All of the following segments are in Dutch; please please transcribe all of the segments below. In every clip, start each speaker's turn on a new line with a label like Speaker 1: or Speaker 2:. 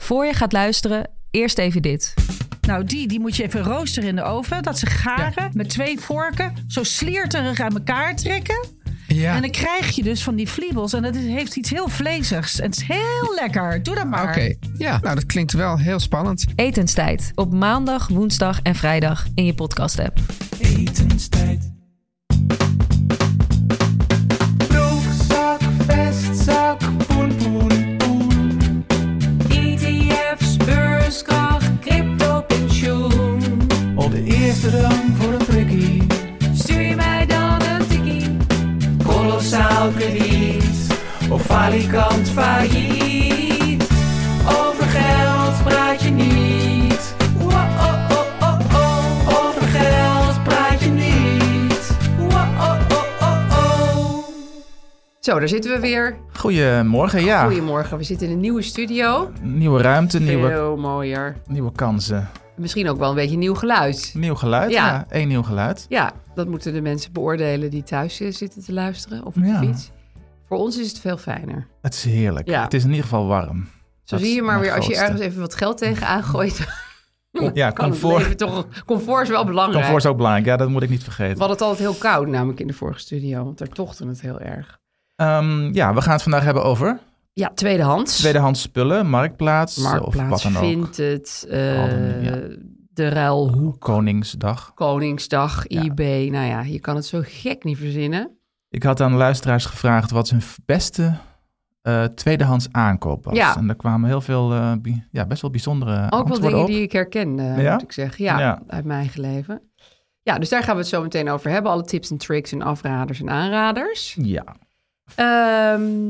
Speaker 1: Voor je gaat luisteren, eerst even dit.
Speaker 2: Nou, die, die moet je even roosteren in de oven. Dat ze garen met twee vorken zo slierterig aan elkaar trekken.
Speaker 3: Ja.
Speaker 2: En dan krijg je dus van die vliebels. En dat is- heeft iets heel vlezigs. En het is heel lekker. Doe dat maar.
Speaker 3: Oké, ja, nou dat klinkt wel heel spannend.
Speaker 1: Etenstijd. Op maandag, woensdag en vrijdag in je podcast-app.
Speaker 4: Etenstijd. Broekzak, vestzak, poen, poen, poen. E
Speaker 5: ETF's, beurskracht, crypto, pensioen.
Speaker 4: Op de eerste rang voor een prikkie.
Speaker 5: Stuur je mij dan een tikkie?
Speaker 4: Kolossaal krediet. Of falikant failliet. Over geld praat je niet. Wa-oh-oh-oh-oh. Over geld praat je niet. Wa-oh-oh-oh-oh.
Speaker 6: Zo, daar zitten we weer.
Speaker 7: Goedemorgen, ja.
Speaker 6: Goedemorgen, we zitten in een nieuwe studio.
Speaker 7: Nieuwe ruimte, nieuwe,
Speaker 6: Veel mooier.
Speaker 7: nieuwe kansen.
Speaker 6: Misschien ook wel een beetje nieuw geluid.
Speaker 7: Nieuw geluid,
Speaker 6: Ja.
Speaker 7: ja. Eén nieuw geluid.
Speaker 6: Ja, dat moeten de mensen beoordelen die thuis eh, zitten te luisteren of op
Speaker 7: Ja.
Speaker 6: de fiets. Voor ons is het veel fijner.
Speaker 7: Het is heerlijk.
Speaker 6: Ja.
Speaker 7: Het is in ieder geval warm.
Speaker 6: Zo
Speaker 7: Dat
Speaker 6: zie je
Speaker 7: is
Speaker 6: maar
Speaker 7: mijn
Speaker 6: weer, als je
Speaker 7: grootste.
Speaker 6: ergens even wat geld tegenaan gooit,
Speaker 7: Ja,
Speaker 6: kan het
Speaker 7: comfort,
Speaker 6: leven toch... Comfort is wel belangrijk.
Speaker 7: comfort is ook belangrijk. Ja, dat moet ik niet vergeten.
Speaker 6: We hadden het altijd heel koud, namelijk in de vorige studio, want daar tochten het heel erg.
Speaker 7: Ehm, ja, we gaan het vandaag hebben over
Speaker 6: Ja, tweedehands.
Speaker 7: tweedehands spullen, marktplaats, of wat
Speaker 6: Marktplaats,
Speaker 7: dan ook.
Speaker 6: Vinted, eh,
Speaker 7: Al dan, ja.
Speaker 6: de ruilhoek.
Speaker 7: Koningsdag.
Speaker 6: Koningsdag,
Speaker 7: Ja.
Speaker 6: eBay. Nou ja, je kan het zo gek niet verzinnen.
Speaker 7: Ik had aan de luisteraars gevraagd wat hun beste eh, tweedehands aankoop was.
Speaker 6: Ja.
Speaker 7: En daar kwamen heel veel, eh, bi- ja, best wel bijzondere
Speaker 6: Ook wel
Speaker 7: antwoorden
Speaker 6: dingen
Speaker 7: op.
Speaker 6: die ik herken, eh,
Speaker 7: Ja?
Speaker 6: moet ik zeggen. Ja,
Speaker 7: Ja.
Speaker 6: uit mijn eigen leven. Ja, dus daar gaan we het zo meteen over hebben. Alle tips en tricks en afraders en aanraders.
Speaker 7: Ja.
Speaker 6: Ehm,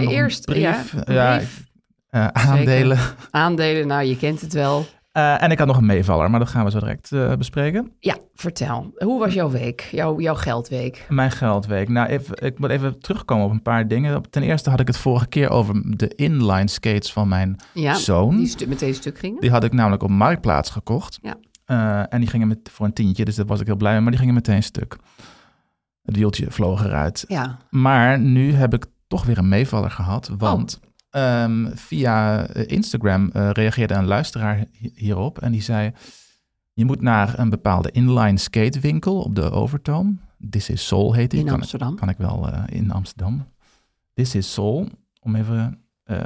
Speaker 7: nog een
Speaker 6: eerst,
Speaker 7: brief.
Speaker 6: ja,
Speaker 7: Ja,
Speaker 6: brief,
Speaker 7: eh, aandelen.
Speaker 6: aandelen. Nou, je kent het wel.
Speaker 7: Eh, en ik had nog een meevaller, maar dat gaan we zo direct eh, bespreken.
Speaker 6: Ja, vertel. Hoe was jouw week? Jouw, jouw geldweek?
Speaker 7: Mijn geldweek. Nou, even, ik moet even terugkomen op een paar dingen. Op- Ten eerste had ik het vorige keer over de inline skates van mijn
Speaker 6: Ja,
Speaker 7: zoon.
Speaker 6: die
Speaker 7: Die,
Speaker 6: stu- meteen stuk gingen.
Speaker 7: had ik namelijk op Marktplaats gekocht.
Speaker 6: Ja.
Speaker 7: Eh, en die gingen met, voor een tientje, dus daar was ik heel blij mee. Maar die gingen meteen stuk. Het wieltje vloog eruit.
Speaker 6: Ja,
Speaker 7: Maar nu heb ik toch weer een meevaller gehad.
Speaker 6: Oh.
Speaker 7: Want ehm, via eh, Instagram eh, reageerde een luisteraar hi- hierop. En die zei: Je moet naar een bepaalde inline skatewinkel op de Overtoom. This is Soul heet die.
Speaker 6: in
Speaker 7: Kan ik-
Speaker 6: Amsterdam.
Speaker 7: Kan, ik wel eh, in Amsterdam. This is Soul, om even eh,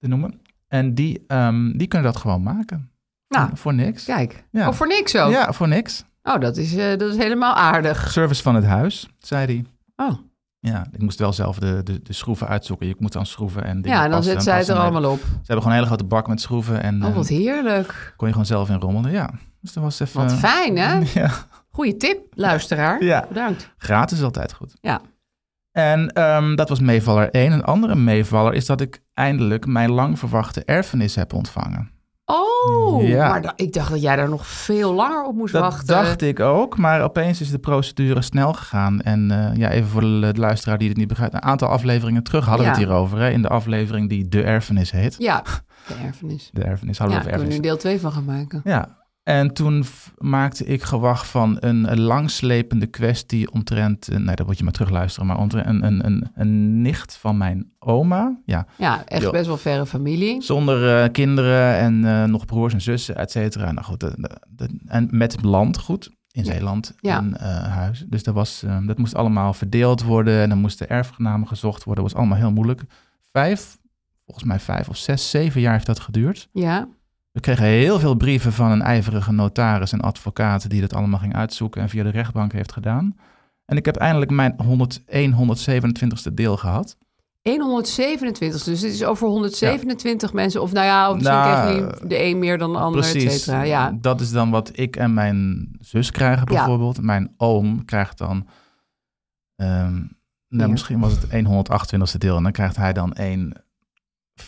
Speaker 7: te noemen. En die, ehm, die kunnen dat gewoon maken.
Speaker 6: Nou,
Speaker 7: Voor- voor niks.
Speaker 6: Kijk.
Speaker 7: Ja.
Speaker 6: Oh, voor niks ook?
Speaker 7: Ja, voor niks.
Speaker 6: Oh, dat is, eh, dat is helemaal aardig.
Speaker 7: Service van het huis, zei hij.
Speaker 6: Oh,
Speaker 7: Ja, ik moest wel zelf de, de, de schroeven uitzoeken. Ik moet dan schroeven en dingen
Speaker 6: ja, en dan
Speaker 7: passen
Speaker 6: zet zij het
Speaker 7: passen.
Speaker 6: er
Speaker 7: Nee,
Speaker 6: allemaal op.
Speaker 7: Ze hebben gewoon een hele grote bak met schroeven en
Speaker 6: Oh,
Speaker 7: eh,
Speaker 6: wat heerlijk.
Speaker 7: kon je gewoon zelf in rommelen. Ja, dus dat was even...
Speaker 6: Wat fijn, hè?
Speaker 7: Ja,
Speaker 6: Goeie tip, luisteraar.
Speaker 7: ja.
Speaker 6: Bedankt.
Speaker 7: gratis is altijd goed.
Speaker 6: Ja.
Speaker 7: En ehm, dat was meevaller 1. Een andere meevaller is dat ik eindelijk mijn lang verwachte erfenis heb ontvangen.
Speaker 6: Oh,
Speaker 7: Ja.
Speaker 6: maar da- ik dacht dat jij daar nog veel langer op moest
Speaker 7: Dat
Speaker 6: wachten.
Speaker 7: dacht ik ook, maar opeens is de procedure snel gegaan. En eh, ja, even voor de, de luisteraar die het niet begrijpt. Een aantal afleveringen terug hadden we
Speaker 6: Ja.
Speaker 7: het hierover. Hè, in de aflevering die De Erfenis heet.
Speaker 6: Ja, de erfenis.
Speaker 7: De Erfenis,
Speaker 6: Ja,
Speaker 7: hadden we
Speaker 6: daar kunnen
Speaker 7: over
Speaker 6: we
Speaker 7: erfenis.
Speaker 6: nu deel 2 van gaan maken.
Speaker 7: Ja, en toen v- maakte ik gewacht van een, een langslepende kwestie omtrent, eh, nee, dat moet je maar terugluisteren, maar omtrent een, een, een, een nicht van mijn oma, ja,
Speaker 6: Ja, echt
Speaker 7: Ja.
Speaker 6: best wel verre familie.
Speaker 7: zonder eh, kinderen en eh, nog broers en zussen, et cetera. Nou goed, eh, dat- en met landgoed in
Speaker 6: Ja.
Speaker 7: Zeeland
Speaker 6: Ja.
Speaker 7: en eh, huis. Dus dat, was, eh, dat moest allemaal verdeeld worden en dan moesten erfgenamen gezocht worden. Dat was allemaal heel moeilijk. Vijf volgens mij vijf of zes, zeven jaar heeft dat geduurd.
Speaker 6: Ja.
Speaker 7: We kregen heel veel brieven van een ijverige notaris en advocaat die dat allemaal ging uitzoeken en via de rechtbank heeft gedaan. En ik heb eindelijk mijn 101, 127ste deel gehad.
Speaker 6: 127, dus het is over 127 mensen. Of nou ja, of misschien
Speaker 7: Nou,
Speaker 6: krijg je de een meer dan de ander, et
Speaker 7: Precies.
Speaker 6: cetera. Ja.
Speaker 7: Dat is dan wat ik en mijn zus krijgen bijvoorbeeld. Mijn oom krijgt dan, ehm, nou, misschien was het 128ste deel en dan krijgt hij dan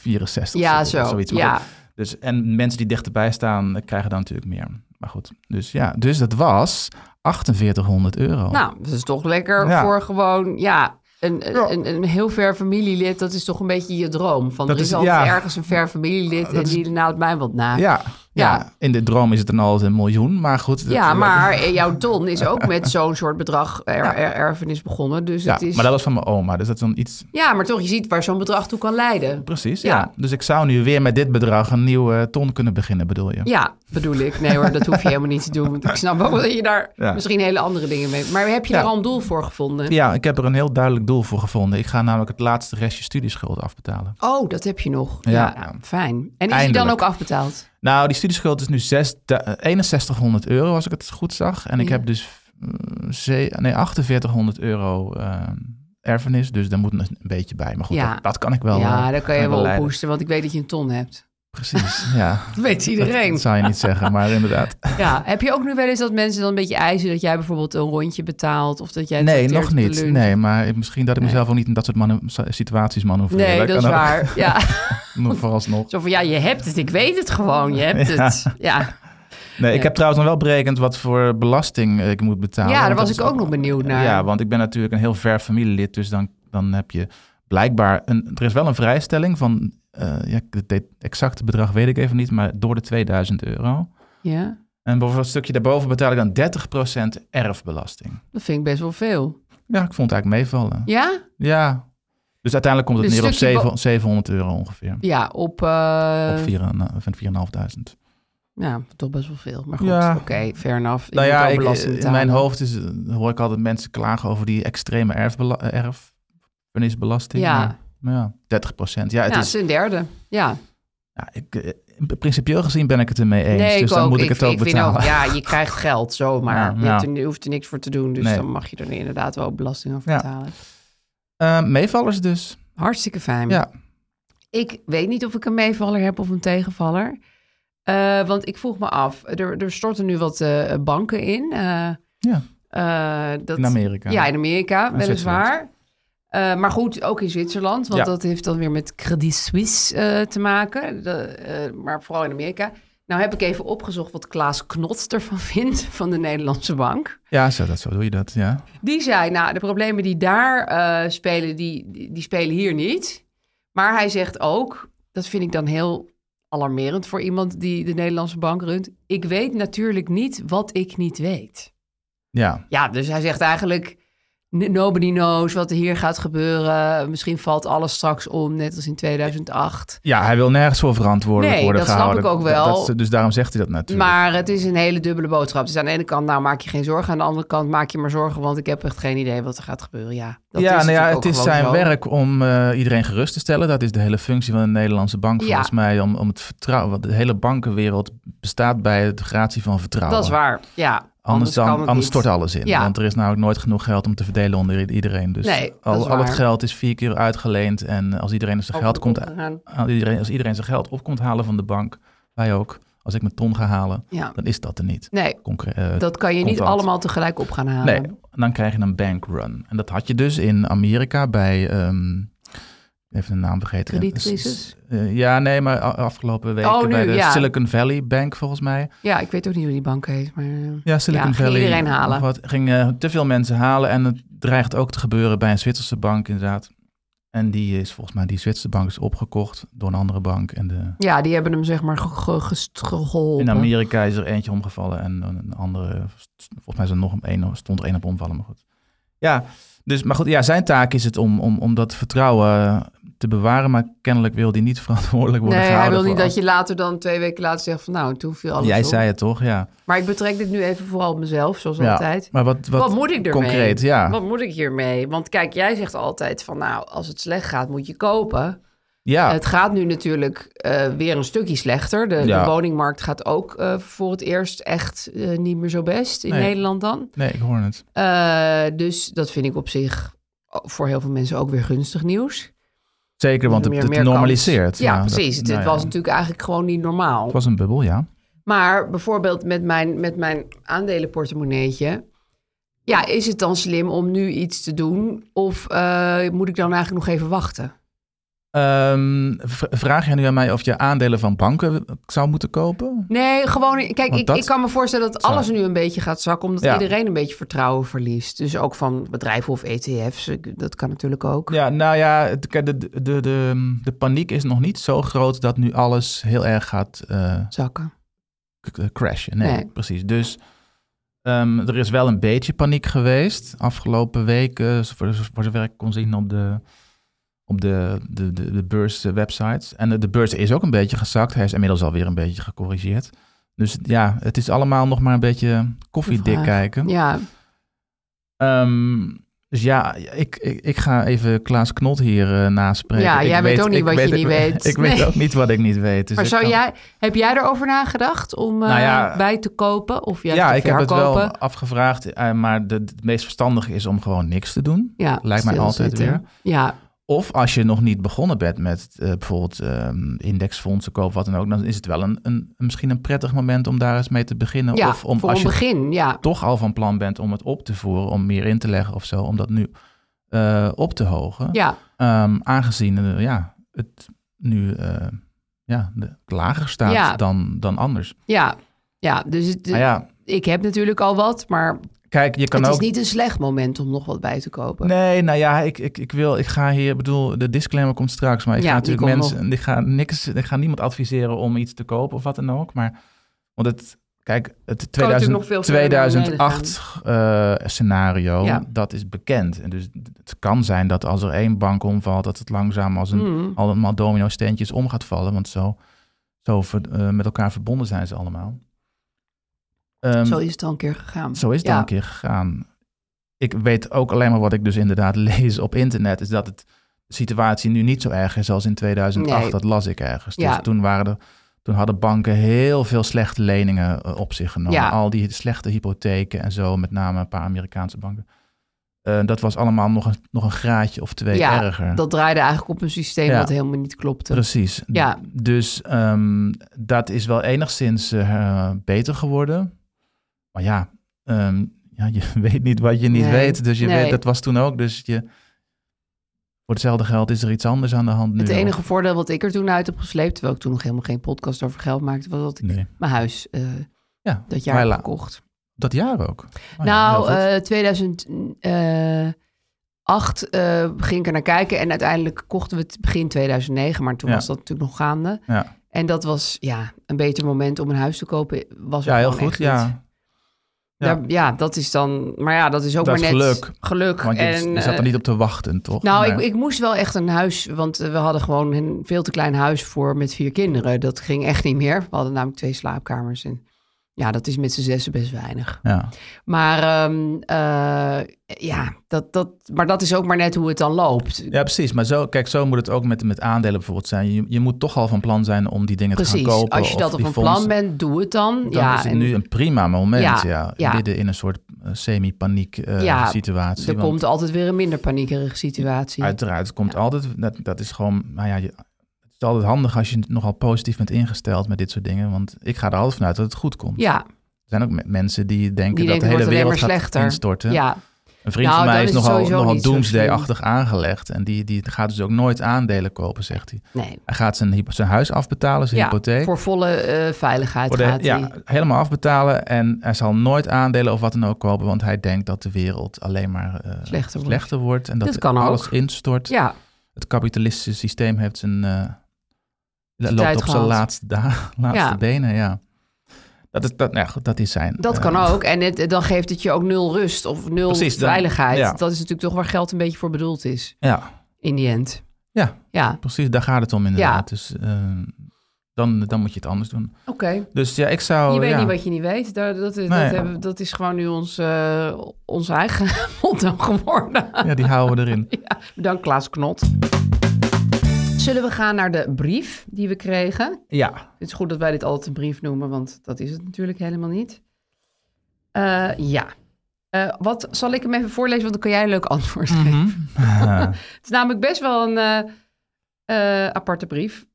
Speaker 7: 164
Speaker 6: Ja,
Speaker 7: of
Speaker 6: zo.
Speaker 7: zoiets. Maar
Speaker 6: Ja.
Speaker 7: goed, Dus, en mensen die dichterbij staan eh, krijgen dan natuurlijk meer. Maar goed, dus ja, dus dat was 4800 euro.
Speaker 6: Nou, dat is toch lekker
Speaker 7: Oh. Ja.
Speaker 6: voor gewoon, ja, een, een, een heel ver familielid. Dat is toch een beetje je droom. Van,
Speaker 7: Dat
Speaker 6: er is,
Speaker 7: is-
Speaker 6: altijd
Speaker 7: ja. Oh,
Speaker 6: ergens een ver familielid en
Speaker 7: is-
Speaker 6: die houdt mij wat na.
Speaker 7: ja, ja. in de droom is het dan al een miljoen, maar goed. dat-
Speaker 6: Ja,
Speaker 7: dat-
Speaker 6: maar eh, jouw ton is ook met zo'n soort bedrag er- er- erfenis begonnen. Dus
Speaker 7: Ja,
Speaker 6: het is...
Speaker 7: maar dat was van mijn oma, dus dat is dan iets...
Speaker 6: ja, maar toch, je ziet waar zo'n bedrag toe kan leiden.
Speaker 7: Precies,
Speaker 6: Ja.
Speaker 7: ja. Dus ik zou nu weer met dit bedrag een nieuwe ton kunnen beginnen, bedoel je?
Speaker 6: Ja, bedoel ik. Nee hoor, dat hoef je helemaal niet te doen. Want ik snap ook dat je daar
Speaker 7: Ja.
Speaker 6: misschien hele andere dingen mee... Maar heb je
Speaker 7: Ja.
Speaker 6: daar al een doel voor gevonden?
Speaker 7: Ja, ik heb er een heel duidelijk doel voor gevonden. Ik ga namelijk het laatste restje studieschuld afbetalen.
Speaker 6: Oh, dat heb je nog. Ja,
Speaker 7: Ja.
Speaker 6: nou, fijn. En is die dan
Speaker 7: Eindelijk.
Speaker 6: ook afbetaald?
Speaker 7: Nou, die studieschuld is nu zes- da- eh, 6100 euro, als ik het goed zag. En ik
Speaker 6: Ja.
Speaker 7: heb dus eh, ze- nee, 4800 euro eh, erfenis. Dus daar moet een een beetje bij. Maar goed,
Speaker 6: Ja.
Speaker 7: dat, dat kan ik wel.
Speaker 6: ja,
Speaker 7: eh,
Speaker 6: daar
Speaker 7: kan
Speaker 6: kan je
Speaker 7: ik
Speaker 6: wel
Speaker 7: leiden.
Speaker 6: ophoesten, want ik weet dat je een ton hebt.
Speaker 7: Precies, ja.
Speaker 6: Dat weet
Speaker 7: Dat,
Speaker 6: iedereen.
Speaker 7: dat zou je niet zeggen, maar inderdaad.
Speaker 6: Ja, heb je ook nu wel eens dat mensen dan een beetje eisen dat jij bijvoorbeeld een rondje betaalt of dat jij
Speaker 7: Nee,
Speaker 6: sorteert
Speaker 7: nog
Speaker 6: op de
Speaker 7: niet.
Speaker 6: lunch?
Speaker 7: Nee, maar ik- misschien dat ik
Speaker 6: Nee.
Speaker 7: mezelf ook niet in dat soort manu- situaties manoeuvreer.
Speaker 6: Nee, dat is
Speaker 7: kan ook.
Speaker 6: waar. Ja.
Speaker 7: Maar Vooralsnog.
Speaker 6: Zo van ja, je hebt het, ik weet het gewoon, je hebt
Speaker 7: Ja. Nou,
Speaker 6: het. Ja,
Speaker 7: Nee,
Speaker 6: Nee.
Speaker 7: ik heb trouwens nog wel berekend wat voor belasting eh, ik moet betalen.
Speaker 6: ja daar
Speaker 7: Want
Speaker 6: was
Speaker 7: dat
Speaker 6: ik
Speaker 7: is
Speaker 6: ook nog benieuwd naar.
Speaker 7: Ja, want ik ben natuurlijk een heel ver familielid, dus dan, dan heb je blijkbaar... Een, er is wel een vrijstelling van, eh, ja, het de- exacte bedrag weet ik even niet, maar door de 2000 euro.
Speaker 6: ja,
Speaker 7: En bijvoorbeeld een stukje daarboven betaal ik dan 30% erfbelasting.
Speaker 6: dat vind ik best wel veel.
Speaker 7: Ja, ik vond het eigenlijk meevallen. Ja.
Speaker 6: Ja?
Speaker 7: Dus uiteindelijk komt het
Speaker 6: Dus
Speaker 7: neer op
Speaker 6: stukje bo-
Speaker 7: zeven- 700 euro ongeveer.
Speaker 6: Ja, op, eh,
Speaker 7: Of 4.500.
Speaker 6: ja, toch best wel veel. Maar goed,
Speaker 7: Ja.
Speaker 6: oké, fair enough. Je
Speaker 7: Nou
Speaker 6: moet
Speaker 7: ja,
Speaker 6: wel
Speaker 7: ik-
Speaker 6: belasting
Speaker 7: in
Speaker 6: betalen.
Speaker 7: mijn hoofd is, eh, hoor ik altijd mensen klagen over die extreme erfbela- erfenisbelasting.
Speaker 6: Ja.
Speaker 7: Maar, maar ja, 30 Ja, het
Speaker 6: ja,
Speaker 7: is,
Speaker 6: het is een derde. Ja,
Speaker 7: ja ik, eh, principieel gezien ben ik het ermee eens.
Speaker 6: nee,
Speaker 7: dus
Speaker 6: ik
Speaker 7: dan
Speaker 6: ook.
Speaker 7: moet ik het ook
Speaker 6: vind
Speaker 7: betalen.
Speaker 6: ja, je krijgt geld zomaar.
Speaker 7: Ja,
Speaker 6: je, hebt
Speaker 7: ja.
Speaker 6: er, je hoeft er niks voor te doen, dus
Speaker 7: Nee.
Speaker 6: dan mag je er inderdaad wel belasting over
Speaker 7: Ja.
Speaker 6: betalen.
Speaker 7: Eh, meevallers dus.
Speaker 6: Hartstikke fijn.
Speaker 7: Ja.
Speaker 6: Ik weet niet of ik een meevaller heb of een tegenvaller. Eh, want ik vroeg me af, er, er storten nu wat eh, banken in. eh,
Speaker 7: Ja.
Speaker 6: eh, dat,
Speaker 7: In Amerika.
Speaker 6: Ja, in Amerika,
Speaker 7: En
Speaker 6: weliswaar. Eh, maar goed, ook in Zwitserland, want
Speaker 7: Ja.
Speaker 6: dat heeft dan weer met Credit Suisse eh, te maken. De, eh, maar vooral in Amerika. Nou heb ik even opgezocht wat Klaas Knots ervan vindt, van de Nederlandse bank.
Speaker 7: Ja, zo, dat, zo doe je dat. Ja.
Speaker 6: Die zei, nou, de problemen die daar eh, spelen, die, die, die spelen hier niet. Maar hij zegt ook, dat vind ik dan heel alarmerend voor iemand die de Nederlandse bank runt. Ik weet natuurlijk niet wat ik niet weet.
Speaker 7: ja.
Speaker 6: Ja, dus hij zegt eigenlijk, n- nobody knows wat er hier gaat gebeuren. Misschien valt alles straks om, net als in 2008.
Speaker 7: Ja, hij wil nergens voor verantwoordelijk
Speaker 6: Nee,
Speaker 7: worden
Speaker 6: dat snap
Speaker 7: gehouden.
Speaker 6: ik ook
Speaker 7: Dat-
Speaker 6: wel.
Speaker 7: dat is- dus daarom zegt hij dat natuurlijk.
Speaker 6: Maar het is een hele dubbele boodschap. Dus aan de ene kant, nou maak je geen zorgen. Aan de andere kant, maak je maar zorgen, want ik heb echt geen idee wat er gaat gebeuren. Ja, dat
Speaker 7: ja,
Speaker 6: is
Speaker 7: nou ja,
Speaker 6: natuurlijk ook
Speaker 7: het is
Speaker 6: gewoon
Speaker 7: zijn
Speaker 6: zo.
Speaker 7: werk om eh, iedereen gerust te stellen. Dat is de hele functie van de Nederlandse bank
Speaker 6: Ja.
Speaker 7: volgens mij. Om, om het vertrouwen, want de hele bankenwereld bestaat bij het gratie van vertrouwen.
Speaker 6: Dat is waar, ja.
Speaker 7: Anders, dan,
Speaker 6: kan het
Speaker 7: anders
Speaker 6: niet.
Speaker 7: stort alles in.
Speaker 6: Ja.
Speaker 7: Want er is namelijk nooit genoeg geld om te verdelen onder i- iedereen. Dus
Speaker 6: Nee, dat is
Speaker 7: al, al het
Speaker 6: waar.
Speaker 7: geld is vier keer uitgeleend. En als iedereen dus zijn geld, komt,
Speaker 6: Opgegaan.
Speaker 7: als iedereen, als iedereen zijn geld op komt halen van de bank, wij ook. Als ik mijn ton ga halen,
Speaker 6: Ja.
Speaker 7: dan is dat er niet.
Speaker 6: Nee,
Speaker 7: Concre- eh,
Speaker 6: dat kan je niet
Speaker 7: contant.
Speaker 6: allemaal tegelijk op gaan
Speaker 7: Nee,
Speaker 6: halen.
Speaker 7: en dan krijg je een bankrun. En dat had je dus in Amerika bij, ehm, even de naam vergeten.
Speaker 6: Kredietcrisis?
Speaker 7: Eh, ja, nee, maar a- afgelopen weken
Speaker 6: Oh, nu,
Speaker 7: bij de
Speaker 6: ja.
Speaker 7: Silicon Valley Bank volgens mij.
Speaker 6: Ja, ik weet ook niet hoe die bank heet, maar... eh,
Speaker 7: Ja, Silicon
Speaker 6: ja, ging
Speaker 7: Valley.
Speaker 6: iedereen halen.
Speaker 7: nog Wat, ging eh, te veel mensen halen en het dreigt ook te gebeuren bij een Zwitserse bank inderdaad. En die is volgens mij, die Zwitserse bank is opgekocht door een andere bank. En de,
Speaker 6: Ja, die hebben hem zeg maar ge- ge- gest- geholpen.
Speaker 7: in Amerika is er eentje omgevallen en een andere, volgens mij is er nog een, één- stond er één op omvallen, maar goed. Ja, dus, maar goed, ja, zijn taak is het om, om, om dat vertrouwen te bewaren, maar kennelijk wil die niet verantwoordelijk worden
Speaker 6: Nee, hij
Speaker 7: gehouden.
Speaker 6: wil niet
Speaker 7: voor
Speaker 6: dat je later dan twee weken later zegt van nou, toen viel
Speaker 7: alles.
Speaker 6: alles
Speaker 7: Jij
Speaker 6: om.
Speaker 7: zei het toch, ja.
Speaker 6: Maar ik betrek dit nu even vooral op mezelf, zoals
Speaker 7: ja.
Speaker 6: altijd.
Speaker 7: Maar wat, wat,
Speaker 6: Wat, moet ik ermee?
Speaker 7: Concreet, ja.
Speaker 6: Wat moet ik hiermee? Want kijk, jij zegt altijd van nou, als het slecht gaat moet je kopen.
Speaker 7: Ja.
Speaker 6: Het gaat nu natuurlijk eh, weer een stukje slechter. De, de
Speaker 7: Ja.
Speaker 6: woningmarkt gaat ook eh, voor het eerst echt eh, niet meer zo best in
Speaker 7: Nee.
Speaker 6: Nederland dan.
Speaker 7: Nee, ik hoor het.
Speaker 6: Eh, dus dat vind ik op zich voor heel veel mensen ook weer gunstig nieuws.
Speaker 7: Zeker, want het,
Speaker 6: Meer-
Speaker 7: het
Speaker 6: meer kans.
Speaker 7: normaliseert.
Speaker 6: Ja,
Speaker 7: dat-
Speaker 6: precies. Het,
Speaker 7: nou
Speaker 6: het
Speaker 7: ja.
Speaker 6: was natuurlijk eigenlijk gewoon niet normaal.
Speaker 7: Het was een bubbel, ja.
Speaker 6: Maar bijvoorbeeld met mijn, met mijn aandelenportemonneetje. Ja, is het dan slim om nu iets te doen? Of eh, moet ik dan eigenlijk nog even wachten?
Speaker 7: Ehm, v- vraag jij nu aan mij of je aandelen van banken zou moeten kopen?
Speaker 6: Nee, gewoon. Kijk,
Speaker 7: Want
Speaker 6: ik,
Speaker 7: dat-
Speaker 6: ik kan me voorstellen dat
Speaker 7: Sorry.
Speaker 6: alles nu een beetje gaat zakken. Omdat
Speaker 7: Ja.
Speaker 6: iedereen een beetje vertrouwen verliest. Dus ook van bedrijven of ETF's. ik- Dat kan natuurlijk ook.
Speaker 7: Ja, nou ja, het- kijk, de, de, de, de, de paniek is nog niet zo groot dat nu alles heel erg gaat eh,
Speaker 6: Zakken.
Speaker 7: k- eh, crashen. Nee,
Speaker 6: Nee.
Speaker 7: precies. Dus ehm, er is wel een beetje paniek geweest afgelopen weken, voor, voor zover ik kon zien op de, op de, de, de, de beurswebsites. En de, de beurs is ook een beetje gezakt. Hij is inmiddels alweer een beetje gecorrigeerd. Dus ja, het is allemaal nog maar een beetje koffiedik
Speaker 6: Vraag.
Speaker 7: kijken.
Speaker 6: Ja,
Speaker 7: Ehm, dus ja, ik, ik, ik ga even Klaas Knot hier eh, naspreken.
Speaker 6: Ja,
Speaker 7: Ik
Speaker 6: jij weet ook niet
Speaker 7: ik
Speaker 6: wat je niet weet.
Speaker 7: Ik
Speaker 6: Nee.
Speaker 7: weet ook niet wat ik niet weet. Dus
Speaker 6: maar
Speaker 7: ik
Speaker 6: zou
Speaker 7: kan-
Speaker 6: jij, heb jij erover nagedacht om eh,
Speaker 7: Nou ja,
Speaker 6: bij te kopen? Of juist
Speaker 7: Ja,
Speaker 6: te
Speaker 7: ik heb het
Speaker 6: verkopen?
Speaker 7: wel afgevraagd, eh, maar de- het meest verstandige is om gewoon niks te doen.
Speaker 6: Ja,
Speaker 7: Lijkt mij altijd
Speaker 6: stilzitten.
Speaker 7: weer.
Speaker 6: Ja,
Speaker 7: Of als je nog niet begonnen bent met eh, bijvoorbeeld ehm, indexfondsen kopen, wat dan ook, dan is het wel een, een, misschien een prettig moment om daar eens mee te beginnen.
Speaker 6: ja
Speaker 7: of om
Speaker 6: voor
Speaker 7: als
Speaker 6: een
Speaker 7: je
Speaker 6: begin. Ja.
Speaker 7: toch al van plan bent om het op te voeren, om meer in te leggen of zo, om dat nu eh, op te hogen.
Speaker 6: Ja.
Speaker 7: Ehm, aangezien eh, ja, het nu eh, ja, de- het lager staat
Speaker 6: Ja.
Speaker 7: dan, dan anders.
Speaker 6: Ja, ja dus het-
Speaker 7: Maar ja,
Speaker 6: ik heb natuurlijk al wat, maar
Speaker 7: kijk, je kan
Speaker 6: het is
Speaker 7: ook...
Speaker 6: niet een slecht moment om nog wat bij te kopen.
Speaker 7: Nee, nou ja, ik, ik, ik wil, ik ga hier, ik bedoel, de disclaimer komt straks, maar ik
Speaker 6: Ja,
Speaker 7: ga
Speaker 6: die
Speaker 7: natuurlijk
Speaker 6: komt
Speaker 7: mensen, ik ga, niks, ik ga niemand adviseren om iets te kopen of wat dan ook, maar, want het, kijk, het
Speaker 6: natuurlijk
Speaker 7: 2000,
Speaker 6: nog veel verder naar beneden
Speaker 7: 2008 eh, scenario,
Speaker 6: Ja.
Speaker 7: dat is bekend. En dus het kan zijn dat als er één bank omvalt, dat het langzaam als een,
Speaker 6: Mm.
Speaker 7: allemaal domino steentjes om gaat vallen, want zo, zo ver- eh, met elkaar verbonden zijn ze allemaal. Ehm,
Speaker 6: Zo is het al een keer gegaan.
Speaker 7: zo is het al
Speaker 6: ja.
Speaker 7: een keer gegaan. Ik weet ook alleen maar wat ik dus inderdaad lees op internet, is dat het, de situatie nu niet zo erg is als in 2008.
Speaker 6: Nee.
Speaker 7: Dat las ik ergens. Dus
Speaker 6: Ja.
Speaker 7: toen, waren er, toen hadden banken heel veel slechte leningen eh, op zich genomen.
Speaker 6: Ja.
Speaker 7: Al die slechte hypotheken en zo, met name een paar Amerikaanse banken. Eh, dat was allemaal nog een, nog een graadje of twee
Speaker 6: ja,
Speaker 7: erger.
Speaker 6: dat draaide eigenlijk op een systeem
Speaker 7: Ja.
Speaker 6: dat helemaal niet klopte.
Speaker 7: Precies.
Speaker 6: Ja.
Speaker 7: Dus ehm, dat is wel enigszins eh, beter geworden. Maar ja, ehm, ja, je weet niet wat je niet
Speaker 6: Nee.
Speaker 7: weet. Dus je
Speaker 6: Nee.
Speaker 7: weet, dat was toen ook. Dus je, voor hetzelfde geld is er iets anders aan de hand nu.
Speaker 6: het
Speaker 7: of-
Speaker 6: enige voordeel wat ik er toen uit heb gesleept, terwijl ik toen nog helemaal geen podcast over geld maakte, was dat ik
Speaker 7: Nee.
Speaker 6: mijn huis eh,
Speaker 7: Ja,
Speaker 6: dat jaar
Speaker 7: maar
Speaker 6: heb
Speaker 7: la-
Speaker 6: gekocht.
Speaker 7: Dat jaar ook. Oh ja,
Speaker 6: nou,
Speaker 7: heel goed.
Speaker 6: eh 2008 eh, ging ik er naar kijken en uiteindelijk kochten we het begin 2009, maar toen
Speaker 7: Ja.
Speaker 6: was dat natuurlijk nog gaande.
Speaker 7: ja.
Speaker 6: En dat was ja, een beter moment om een huis te kopen. Was er
Speaker 7: ja, heel
Speaker 6: gewoon
Speaker 7: goed.
Speaker 6: echt eh, niet.
Speaker 7: Ja.
Speaker 6: Daar-
Speaker 7: Ja.
Speaker 6: Ja. dat is dan. Maar ja, dat is ook
Speaker 7: Dat
Speaker 6: maar
Speaker 7: is
Speaker 6: net
Speaker 7: geluk. Want je,
Speaker 6: en,
Speaker 7: je zat er
Speaker 6: eh,
Speaker 7: niet op te wachten, toch?
Speaker 6: Nou,
Speaker 7: Nee.
Speaker 6: ik, ik moest wel echt een huis. Want eh, we hadden gewoon een veel te klein huis voor met vier kinderen. Dat ging echt niet meer. We hadden namelijk twee slaapkamers. En ja, dat is met z'n zessen best weinig.
Speaker 7: Ja.
Speaker 6: Maar ehm, eh, ja, dat, dat, maar dat is ook maar net hoe het dan loopt.
Speaker 7: Ja, precies. Maar zo, kijk, zo moet het ook met, met aandelen bijvoorbeeld zijn. Je, je moet toch al van plan zijn om die dingen te
Speaker 6: Precies.
Speaker 7: gaan kopen.
Speaker 6: Als je
Speaker 7: of
Speaker 6: dat op
Speaker 7: die
Speaker 6: een
Speaker 7: fondsen-
Speaker 6: plan bent, doe het dan.
Speaker 7: Dan
Speaker 6: ja,
Speaker 7: is het
Speaker 6: en
Speaker 7: nu een prima moment,
Speaker 6: Ja,
Speaker 7: ja.
Speaker 6: ja.
Speaker 7: Midden in een soort eh, semi-paniek eh,
Speaker 6: Ja,
Speaker 7: situatie.
Speaker 6: er
Speaker 7: want
Speaker 6: komt altijd weer een minder paniekerige situatie.
Speaker 7: Uiteraard, het komt altijd, dat, dat is gewoon, nou ja, je, het is altijd handig als je nogal positief bent ingesteld met dit soort dingen. Want ik ga er altijd vanuit dat het goed komt.
Speaker 6: Ja,
Speaker 7: Er zijn ook me- mensen die denken
Speaker 6: die
Speaker 7: dat
Speaker 6: denken
Speaker 7: de hele
Speaker 6: het wordt alleen
Speaker 7: wereld
Speaker 6: maar
Speaker 7: gaat
Speaker 6: slechter.
Speaker 7: instorten.
Speaker 6: Ja,
Speaker 7: Een vriend
Speaker 6: Nou,
Speaker 7: van mij
Speaker 6: dan
Speaker 7: is
Speaker 6: is het
Speaker 7: nogal,
Speaker 6: sowieso
Speaker 7: nogal
Speaker 6: niet zo
Speaker 7: doomsday-achtig aangelegd. En die, die gaat dus ook nooit aandelen kopen, zegt hij.
Speaker 6: nee.
Speaker 7: Hij gaat zijn, hypo- zijn huis afbetalen, zijn
Speaker 6: Ja,
Speaker 7: hypotheek.
Speaker 6: voor volle eh, veiligheid
Speaker 7: Voor de-
Speaker 6: gaat
Speaker 7: ja,
Speaker 6: die.
Speaker 7: helemaal afbetalen en hij zal nooit aandelen of wat dan ook kopen, want hij denkt dat de wereld alleen maar eh,
Speaker 6: Slechter wordt.
Speaker 7: wordt en dat,
Speaker 6: Dit kan
Speaker 7: alles
Speaker 6: ook.
Speaker 7: instort.
Speaker 6: Ja,
Speaker 7: Het kapitalistische systeem heeft zijn, eh,
Speaker 6: tijd
Speaker 7: loopt op zijn
Speaker 6: gehad.
Speaker 7: laatste, dagen, laatste
Speaker 6: Ja.
Speaker 7: benen. Ja. Dat, is, dat, nou ja, goed, dat is zijn.
Speaker 6: dat
Speaker 7: eh,
Speaker 6: kan ook. En het, dan geeft het je ook nul rust of nul
Speaker 7: Precies, dan-
Speaker 6: veiligheid.
Speaker 7: ja.
Speaker 6: Dat is natuurlijk toch waar geld een beetje voor bedoeld is.
Speaker 7: Ja,
Speaker 6: In die end.
Speaker 7: Ja.
Speaker 6: Ja,
Speaker 7: precies. Daar gaat het om inderdaad. Dus eh, dan, dan moet je het anders doen.
Speaker 6: oké.
Speaker 7: Dus ja, ik zou...
Speaker 6: je weet
Speaker 7: ja.
Speaker 6: niet wat je niet weet. Daar- Dat, dat,
Speaker 7: Nee.
Speaker 6: hebben- dat is gewoon nu ons, eh, ons eigen motto geworden.
Speaker 7: Ja, die houden we erin.
Speaker 6: Ja, bedankt Klaas Knot. Zullen we gaan naar de brief die we kregen?
Speaker 7: Ja.
Speaker 6: Het is goed dat wij dit altijd een brief noemen, want dat is het natuurlijk helemaal niet. Eh, ja. Eh, wat zal ik hem even voorlezen, want dan kan jij een leuk antwoord geven. het is namelijk best wel een eh, eh, aparte brief.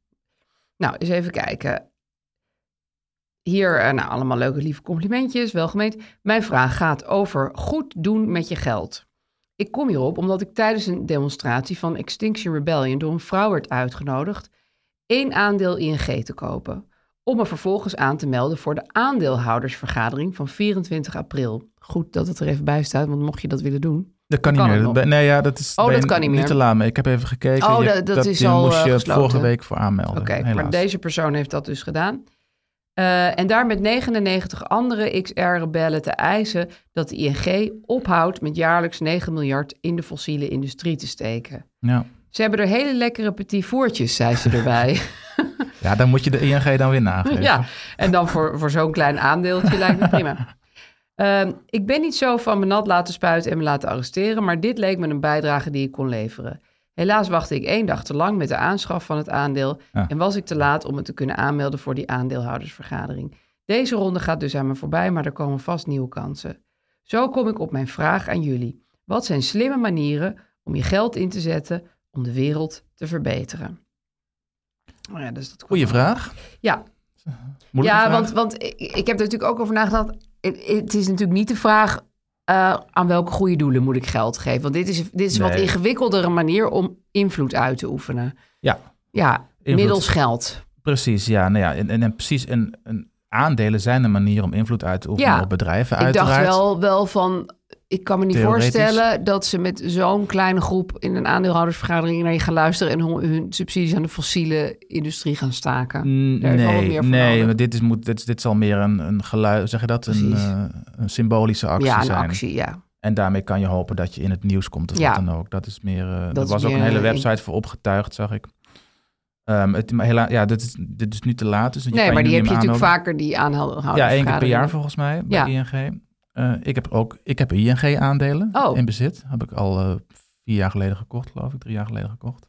Speaker 6: Nou, eens even kijken. Hier, eh, nou, allemaal leuke, lieve complimentjes, welgemeend. Mijn vraag gaat over goed doen met je geld. Ik kom hierop omdat ik tijdens een demonstratie van Extinction Rebellion door een vrouw werd uitgenodigd één aandeel ING te kopen. Om me vervolgens aan te melden voor de aandeelhoudersvergadering van 24 april. Goed dat het er even bij staat, want mocht je dat willen doen.
Speaker 7: Dat kan
Speaker 6: dan
Speaker 7: niet meer.
Speaker 6: het
Speaker 7: Dat
Speaker 6: nog.
Speaker 7: ben- nee, ja, dat is
Speaker 6: Oh,
Speaker 7: ben
Speaker 6: dat
Speaker 7: je
Speaker 6: kan niet meer.
Speaker 7: te laat mee. Ik heb even gekeken.
Speaker 6: Oh,
Speaker 7: Je-
Speaker 6: dat- dat is
Speaker 7: die
Speaker 6: al,
Speaker 7: moest
Speaker 6: eh,
Speaker 7: je
Speaker 6: gesloten.
Speaker 7: vorige week voor aanmelden.
Speaker 6: Oké, maar
Speaker 7: helaas.
Speaker 6: deze persoon heeft dat dus gedaan. Eh, en daar met 99 andere XR-rebellen te eisen dat de ING ophoudt met jaarlijks 9 miljard in de fossiele industrie te steken.
Speaker 7: Ja.
Speaker 6: Ze hebben er hele lekkere petit voertjes, zei ze erbij.
Speaker 7: ja, dan moet je de ING dan weer nageven.
Speaker 6: Ja, en dan voor, voor zo'n klein aandeeltje lijkt me prima. Ehm, ik ben niet zo van mijn nat laten spuiten en me laten arresteren, maar dit leek me een bijdrage die ik kon leveren. Helaas wachtte ik één dag te lang met de aanschaf van het aandeel
Speaker 7: Ja.
Speaker 6: en was ik te laat om het te kunnen aanmelden voor die aandeelhoudersvergadering. Deze ronde gaat dus aan me voorbij, maar er komen vast nieuwe kansen. Zo kom ik op mijn vraag aan jullie. Wat zijn slimme manieren om je geld in te zetten om de wereld te verbeteren? Oh ja, dus dat
Speaker 7: Goeie vraag.
Speaker 6: ja.
Speaker 7: Moeilijke
Speaker 6: ja,
Speaker 7: vraag.
Speaker 6: want, want ik, ik heb er natuurlijk ook over nagedacht. Het, het is natuurlijk niet de vraag eh, aan welke goede doelen moet ik geld geven. Want dit is, dit is een wat
Speaker 7: Nee.
Speaker 6: ingewikkeldere manier om invloed uit te oefenen.
Speaker 7: Ja,
Speaker 6: Ja,
Speaker 7: Invloed.
Speaker 6: middels geld.
Speaker 7: precies. Ja, nou ja, en, en, en precies. En, en aandelen zijn een manier om invloed uit te oefenen
Speaker 6: Ja.
Speaker 7: op bedrijven,
Speaker 6: Ik
Speaker 7: uiteraard.
Speaker 6: dacht wel, wel van, ik kan me niet
Speaker 7: Theoretisch.
Speaker 6: voorstellen dat ze met zo'n kleine groep in een aandeelhoudersvergadering naar je gaan luisteren en hun, hun subsidies aan de fossiele industrie gaan staken.
Speaker 7: Mm,
Speaker 6: Daar is wel wat
Speaker 7: Nee,
Speaker 6: meer voor
Speaker 7: nee
Speaker 6: nodig.
Speaker 7: maar dit, is, moet, dit, is- dit zal meer een, een geluid, zeg je dat, een,
Speaker 6: Precies.
Speaker 7: eh, een symbolische actie
Speaker 6: ja, een
Speaker 7: zijn.
Speaker 6: actie, ja.
Speaker 7: En daarmee kan je hopen dat je in het nieuws komt of
Speaker 6: Ja.
Speaker 7: wat dan ook. Dat is meer. eh,
Speaker 6: Dat
Speaker 7: er
Speaker 6: is
Speaker 7: was ook
Speaker 6: meer
Speaker 7: een hele
Speaker 6: in-
Speaker 7: website voor opgetuigd, zag ik. Ehm, het, maar helaas, ja, dit is, dit is nu te laat. Dus je kan
Speaker 6: Nee, maar
Speaker 7: nu
Speaker 6: die heb
Speaker 7: niet
Speaker 6: je
Speaker 7: meer
Speaker 6: natuurlijk
Speaker 7: aanmelden.
Speaker 6: vaker, die aandeelhoudersvergadering.
Speaker 7: Ja, één keer per jaar volgens mij bij
Speaker 6: Ja.
Speaker 7: ING. Eh, ik heb ook ik heb ING-aandelen
Speaker 6: Oh.
Speaker 7: in bezit. Heb ik al eh, vier jaar geleden gekocht, geloof ik. Drie jaar geleden gekocht.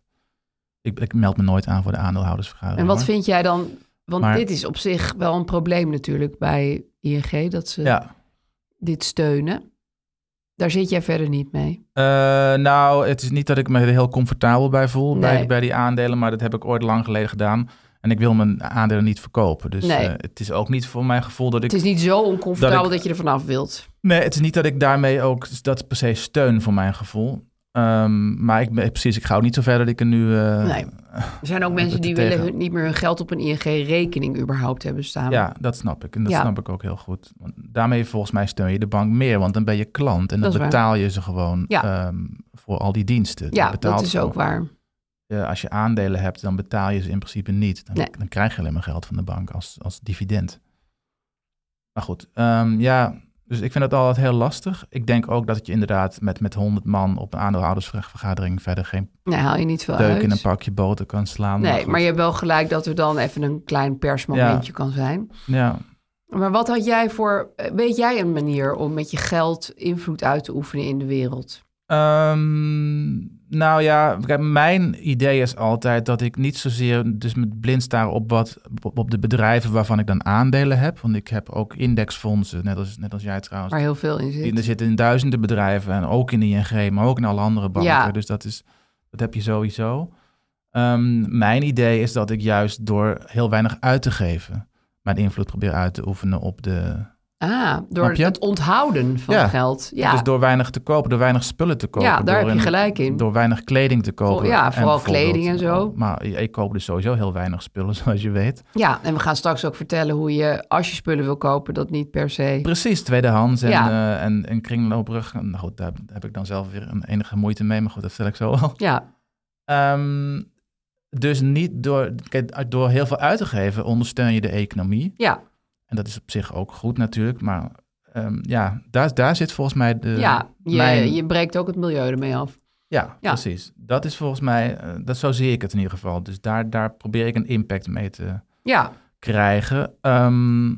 Speaker 7: Ik, ik meld me nooit aan voor de aandeelhoudersvergadering.
Speaker 6: En wat
Speaker 7: hoor.
Speaker 6: vind jij dan? Want
Speaker 7: Maar-
Speaker 6: dit is op zich wel een probleem natuurlijk bij ING dat ze
Speaker 7: Ja.
Speaker 6: dit steunen. Daar zit jij verder niet mee.
Speaker 7: Eh, nou, het is niet dat ik me er heel comfortabel bij voel bij,
Speaker 6: Nee.
Speaker 7: bij die aandelen, maar dat heb ik ooit lang geleden gedaan. En ik wil mijn aandelen niet verkopen. Dus
Speaker 6: Nee.
Speaker 7: eh, het is ook niet voor mijn gevoel dat ik.
Speaker 6: het is niet zo oncomfortabel
Speaker 7: dat
Speaker 6: dat,
Speaker 7: ik-
Speaker 6: je er vanaf wilt.
Speaker 7: Nee, het is niet dat ik daarmee ook dat per se steun voor mijn gevoel. Ehm, maar ik ben precies, ik ga ook niet zo ver dat ik er nu. eh,
Speaker 6: Nee. Er zijn ook
Speaker 7: eh,
Speaker 6: mensen
Speaker 7: te
Speaker 6: die willen
Speaker 7: tegen-
Speaker 6: hun, niet meer hun geld op een ING-rekening überhaupt hebben staan.
Speaker 7: Ja, dat snap ik. En dat
Speaker 6: Ja.
Speaker 7: snap ik ook heel goed. Want daarmee volgens mij steun je de bank meer, want dan ben je klant en dan
Speaker 6: Dat is waar.
Speaker 7: betaal je ze gewoon
Speaker 6: Ja.
Speaker 7: ehm, voor al die diensten. Je
Speaker 6: Ja,
Speaker 7: betaalt
Speaker 6: dat is
Speaker 7: gewoon.
Speaker 6: ook waar.
Speaker 7: Eh, als je aandelen hebt, dan betaal je ze in principe niet. Dan,
Speaker 6: Nee.
Speaker 7: dan krijg je alleen maar geld van de bank als, als dividend. Maar goed, ehm, ja, dus ik vind dat altijd heel lastig. Ik denk ook dat het je inderdaad met, met 100 man op een aandeelhoudersvergadering verder geen
Speaker 6: Nee, haal je niet veel
Speaker 7: deuk
Speaker 6: uit.
Speaker 7: in een pakje boter kan slaan.
Speaker 6: nee,
Speaker 7: goed.
Speaker 6: maar je hebt wel gelijk dat er dan even een klein persmomentje kan zijn.
Speaker 7: Ja,
Speaker 6: Maar wat had jij voor... eh, Weet jij een manier om met je geld invloed uit te oefenen in de wereld?
Speaker 7: Ehm, nou ja, kijk, mijn idee is altijd dat ik niet zozeer dus met blind staren op, wat, op, op de bedrijven waarvan ik dan aandelen heb. Want ik heb ook indexfondsen, net als, net als jij trouwens.
Speaker 6: Waar heel veel in zit.
Speaker 7: Die- Er zitten in duizenden bedrijven en ook in de ING, maar ook in alle andere banken.
Speaker 6: Ja.
Speaker 7: Dus dat, is, dat heb je sowieso. Ehm, mijn idee is dat ik juist door heel weinig uit te geven, mijn invloed probeer uit te oefenen op de.
Speaker 6: Ah, door
Speaker 7: Snap je?
Speaker 6: het onthouden van
Speaker 7: Ja.
Speaker 6: geld. Ja,
Speaker 7: Dus door weinig te kopen, door weinig spullen te kopen.
Speaker 6: ja daar
Speaker 7: door
Speaker 6: heb je
Speaker 7: een-
Speaker 6: gelijk in.
Speaker 7: Door weinig kleding te kopen.
Speaker 6: ja,
Speaker 7: En
Speaker 6: vooral
Speaker 7: bijvoorbeeld-
Speaker 6: kleding en zo.
Speaker 7: Maar ik koop dus sowieso heel weinig spullen, zoals je weet.
Speaker 6: Ja, en we gaan straks ook vertellen hoe je, als je spullen wil kopen, dat niet per se...
Speaker 7: Precies, tweedehands en,
Speaker 6: Ja.
Speaker 7: eh, en, en kringloopbrug. Nou goed, daar heb ik dan zelf weer een enige moeite mee, maar goed, dat stel ik zo al.
Speaker 6: Ja,
Speaker 7: Ehm, dus niet door, kijk, door heel veel uit te geven ondersteun je de economie.
Speaker 6: ja,
Speaker 7: En dat is op zich ook goed natuurlijk, maar ehm, ja, daar, daar zit volgens mij de...
Speaker 6: ja. Je,
Speaker 7: mijn-
Speaker 6: je breekt ook het milieu ermee af.
Speaker 7: ja,
Speaker 6: ja.
Speaker 7: precies. Dat is volgens mij, eh, dat, zo zie ik het in ieder geval. Dus daar, daar probeer ik een impact mee te
Speaker 6: Ja,
Speaker 7: krijgen. Ehm,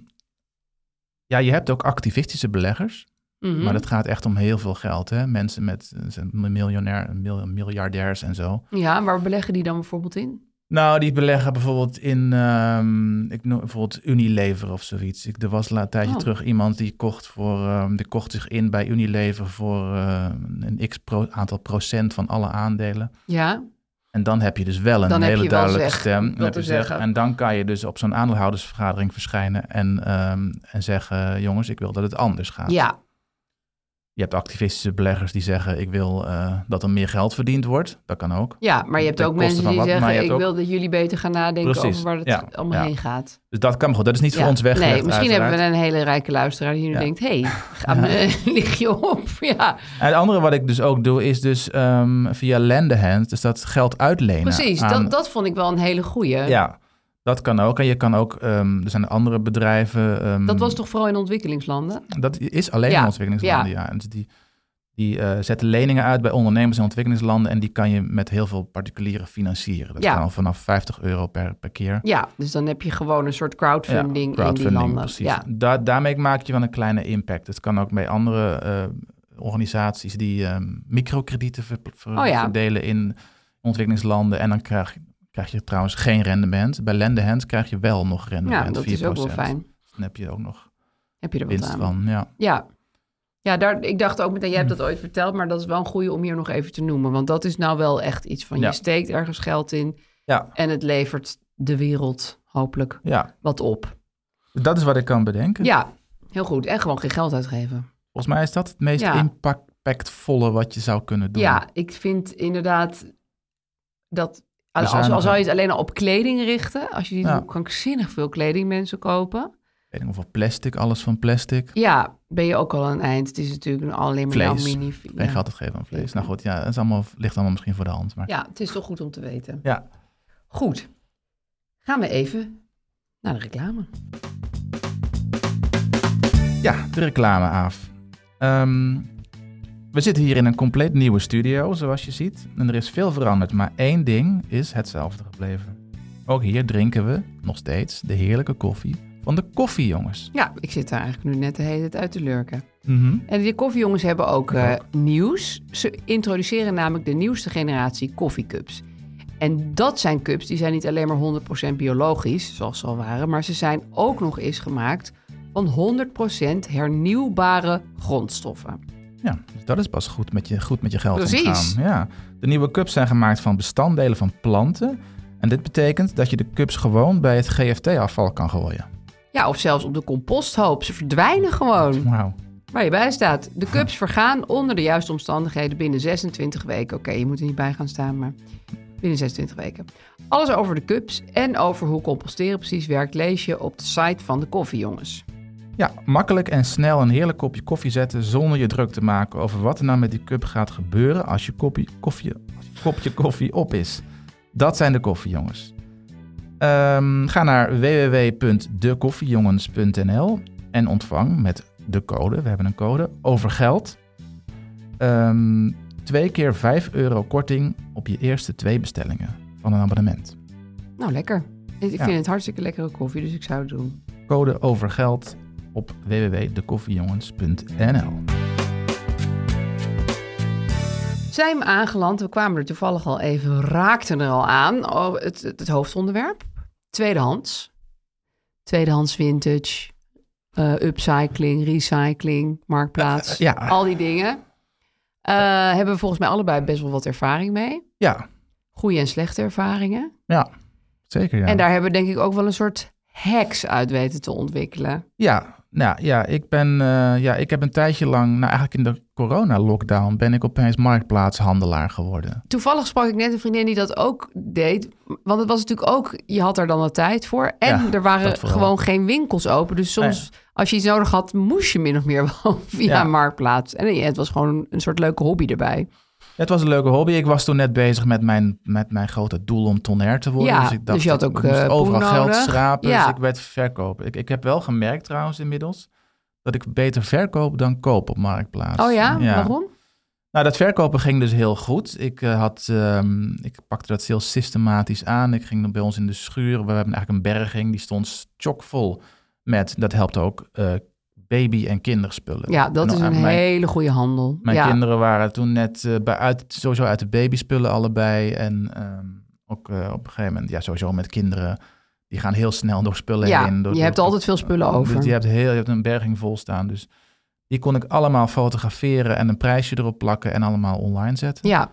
Speaker 7: ja, je hebt ook activistische beleggers.
Speaker 6: mhm.
Speaker 7: Maar dat gaat echt om heel veel geld. Hè? Mensen met eh, zijn miljonair, mil- miljardairs en zo.
Speaker 6: ja, waar beleggen die dan bijvoorbeeld in?
Speaker 7: Nou, die beleggen bijvoorbeeld in ehm, ik noem, bijvoorbeeld Unilever of zoiets. Ik, er was la- een tijdje
Speaker 6: Oh.
Speaker 7: terug iemand die kocht, voor, ehm, die kocht zich in bij Unilever voor eh, een x pro- aantal procent van alle aandelen.
Speaker 6: Ja,
Speaker 7: En dan heb je dus wel een
Speaker 6: Dan heb je
Speaker 7: hele
Speaker 6: wel
Speaker 7: duidelijke
Speaker 6: zeg,
Speaker 7: stem. Dan
Speaker 6: wat
Speaker 7: heb je
Speaker 6: te
Speaker 7: zeg.
Speaker 6: zeggen.
Speaker 7: En dan kan je dus op zo'n aandeelhoudersvergadering verschijnen en, ehm, en zeggen: jongens, ik wil dat het anders gaat.
Speaker 6: ja.
Speaker 7: Je hebt activistische beleggers die zeggen: ik wil eh, dat er meer geld verdiend wordt. Dat kan ook.
Speaker 6: ja, maar je hebt
Speaker 7: Ten
Speaker 6: ook
Speaker 7: koste
Speaker 6: mensen
Speaker 7: van
Speaker 6: die
Speaker 7: wat, maar je
Speaker 6: zeggen...
Speaker 7: hebt
Speaker 6: ik
Speaker 7: ook-
Speaker 6: wil dat jullie beter gaan nadenken
Speaker 7: Precies,
Speaker 6: over waar het
Speaker 7: ja,
Speaker 6: allemaal
Speaker 7: ja.
Speaker 6: heen gaat.
Speaker 7: Dus dat kan goed. Dat is niet voor
Speaker 6: Ja.
Speaker 7: ons weggelegd.
Speaker 6: Nee, misschien
Speaker 7: uiteraard.
Speaker 6: hebben we een hele rijke luisteraar die nu
Speaker 7: Ja.
Speaker 6: denkt... hé, hey, ga me- lig je op? Ja,
Speaker 7: En het andere wat ik dus ook doe, is dus ehm, via lendehand, dus dat geld uitlenen.
Speaker 6: precies.
Speaker 7: aan-
Speaker 6: Dat, dat vond ik wel een hele goeie.
Speaker 7: Ja, dat kan ook. En je kan ook, ehm, er zijn andere bedrijven. ehm,
Speaker 6: Dat was toch vooral in ontwikkelingslanden?
Speaker 7: Dat is alleen
Speaker 6: Ja,
Speaker 7: in ontwikkelingslanden, ja. En dus die die eh, zetten leningen uit bij ondernemers in ontwikkelingslanden en die kan je met heel veel particulieren financieren. Dat
Speaker 6: Ja.
Speaker 7: kan al vanaf 50 euro per, per keer.
Speaker 6: Ja, dus dan heb je gewoon een soort
Speaker 7: Ja,
Speaker 6: crowdfunding, in die landen.
Speaker 7: precies.
Speaker 6: Ja.
Speaker 7: Da- daarmee maak je wel een kleine impact. Het kan ook bij andere eh, organisaties die ehm, microkredieten ver- ver-
Speaker 6: Oh ja.
Speaker 7: verdelen in ontwikkelingslanden. En dan krijg, je- krijg je trouwens geen rendement. Bij Lendehand krijg je wel nog rendement.
Speaker 6: Ja, dat is ook wel
Speaker 7: 4%.
Speaker 6: fijn.
Speaker 7: Dan heb je ook nog
Speaker 6: Heb je er wat
Speaker 7: winst
Speaker 6: aan?
Speaker 7: van. Ja.
Speaker 6: Ja, ja daar, ik dacht ook meteen, jij hebt dat ooit verteld, maar dat is wel een goede om hier nog even te noemen. Want dat is nou wel echt iets van
Speaker 7: Ja.
Speaker 6: je steekt ergens geld in
Speaker 7: Ja.
Speaker 6: en het levert de wereld hopelijk
Speaker 7: ja,
Speaker 6: wat op.
Speaker 7: dat is wat ik kan bedenken.
Speaker 6: Ja, heel goed. En gewoon geen geld uitgeven.
Speaker 7: Volgens mij is dat het meest
Speaker 6: Ja.
Speaker 7: impactvolle wat je zou kunnen doen.
Speaker 6: Ja, ik vind inderdaad dat.
Speaker 7: We
Speaker 6: Als,
Speaker 7: zijn
Speaker 6: als,
Speaker 7: nog
Speaker 6: zou je
Speaker 7: een-
Speaker 6: het alleen al op kleding richten, als je ziet
Speaker 7: Ja.
Speaker 6: hoe krankzinnig veel kleding mensen kopen.
Speaker 7: Ik weet niet hoeveel plastic, alles van plastic.
Speaker 6: Ja, ben je ook al aan het eind. Het is natuurlijk alleen maar
Speaker 7: Vlees.
Speaker 6: mini.
Speaker 7: Geen geld te geven aan vlees. Nou goed, ja, dat is allemaal, ligt allemaal misschien voor de hand. Maar
Speaker 6: Ja, het is toch goed om te weten.
Speaker 7: ja.
Speaker 6: Goed, gaan we even naar de reclame.
Speaker 7: Ja, de reclame af. Ehm, we zitten hier in een compleet nieuwe studio, zoals je ziet. En er is veel veranderd, maar één ding is hetzelfde gebleven. Ook hier drinken we nog steeds de heerlijke koffie van de koffiejongens.
Speaker 6: Ja, ik zit daar eigenlijk nu net de hele tijd uit te lurken. En de koffiejongens hebben ook eh, nieuws. Ze introduceren namelijk de nieuwste generatie koffiecups. En dat zijn cups die zijn niet alleen maar 100% biologisch, zoals ze al waren, maar ze zijn ook nog eens gemaakt van 100% hernieuwbare grondstoffen.
Speaker 7: Ja, dus dat is pas goed met je, goed met je geld
Speaker 6: Precies.
Speaker 7: omgaan. Ja. De nieuwe cups zijn gemaakt van bestanddelen van planten. En dit betekent dat je de cups gewoon bij het GFT-afval kan gooien.
Speaker 6: Ja, of zelfs op de composthoop. Ze verdwijnen gewoon.
Speaker 7: Wauw.
Speaker 6: Waar je bij staat. De cups vergaan onder de juiste omstandigheden binnen 26 weken. Oké, je moet er niet bij gaan staan, maar binnen 26 weken. Alles over de cups en over hoe composteren precies werkt lees je op de site van de koffiejongens.
Speaker 7: Ja, makkelijk en snel een heerlijk kopje koffie zetten zonder je druk te maken over wat er nou met die cup gaat gebeuren als je kopje, koffie, als je kopje koffie op is. Dat zijn de koffiejongens. Ehm, ga naar www.dekoffiejongens.nl en ontvang met de code, we hebben een code, over geld. ehm, twee keer 5 euro korting op je eerste twee bestellingen van een abonnement.
Speaker 6: Nou, lekker. Ik
Speaker 7: Ja.
Speaker 6: vind het hartstikke lekkere koffie, dus ik zou het doen.
Speaker 7: Code over geld op www.dekoffiejongens.nl.
Speaker 6: Zijn we aangeland? We kwamen er toevallig al even, raakten er al aan. Oh, het, het, het hoofdonderwerp. Tweedehands. Tweedehands vintage. eh, upcycling, recycling, marktplaats.
Speaker 7: Ja.
Speaker 6: Al die dingen. Eh, hebben we volgens mij allebei best wel wat ervaring mee.
Speaker 7: Ja,
Speaker 6: Goede en slechte ervaringen.
Speaker 7: ja. Zeker, ja.
Speaker 6: En daar hebben we denk ik ook wel een soort hacks uit weten te ontwikkelen.
Speaker 7: Ja, nou ja, ik ben, eh, ja, ik heb een tijdje lang, nou eigenlijk in de corona-lockdown, ben ik opeens marktplaatshandelaar geworden.
Speaker 6: Toevallig sprak ik net een vriendin die dat ook deed. Want het was natuurlijk ook, je had er dan de tijd voor. En
Speaker 7: Ja,
Speaker 6: er
Speaker 7: dat
Speaker 6: waren
Speaker 7: vooral.
Speaker 6: gewoon geen winkels open. Dus soms, als je iets nodig had, moest je min of meer wel via
Speaker 7: Ja.
Speaker 6: een Marktplaats. En ja, het was gewoon een soort leuke hobby erbij.
Speaker 7: Het was een leuke hobby. Ik was toen net bezig met mijn, met mijn grote doel om tonair te worden.
Speaker 6: Ja,
Speaker 7: dus ik dacht,
Speaker 6: dus je had ook,
Speaker 7: ik moest
Speaker 6: eh,
Speaker 7: overal
Speaker 6: poen
Speaker 7: geld
Speaker 6: nodig.
Speaker 7: schrapen,
Speaker 6: Ja.
Speaker 7: dus ik werd verkoper. Ik, ik heb wel gemerkt trouwens inmiddels dat ik beter verkoop dan koop op Marktplaats.
Speaker 6: Oh ja? Waarom?
Speaker 7: Nou, dat verkopen ging dus heel goed. Ik, eh, had, ehm, ik pakte dat heel systematisch aan. Ik ging dan bij ons in de schuur. We hebben eigenlijk een berging. Die stond chockvol met, dat helpt ook, eh, baby- en kinderspullen.
Speaker 6: Ja, dat
Speaker 7: En,
Speaker 6: is
Speaker 7: eh,
Speaker 6: een
Speaker 7: mijn,
Speaker 6: hele goede handel.
Speaker 7: Mijn
Speaker 6: ja.
Speaker 7: kinderen waren toen net eh, bij uit, sowieso uit de babyspullen allebei. En ehm, ook eh, op een gegeven moment, ja, sowieso met kinderen, die gaan heel snel door spullen
Speaker 6: Ja,
Speaker 7: heen. door-
Speaker 6: je
Speaker 7: door-
Speaker 6: hebt altijd veel spullen
Speaker 7: dus
Speaker 6: over.
Speaker 7: je, hebt heel, je hebt een berging vol staan. Dus die kon ik allemaal fotograferen en een prijsje erop plakken en allemaal online zetten.
Speaker 6: Ja.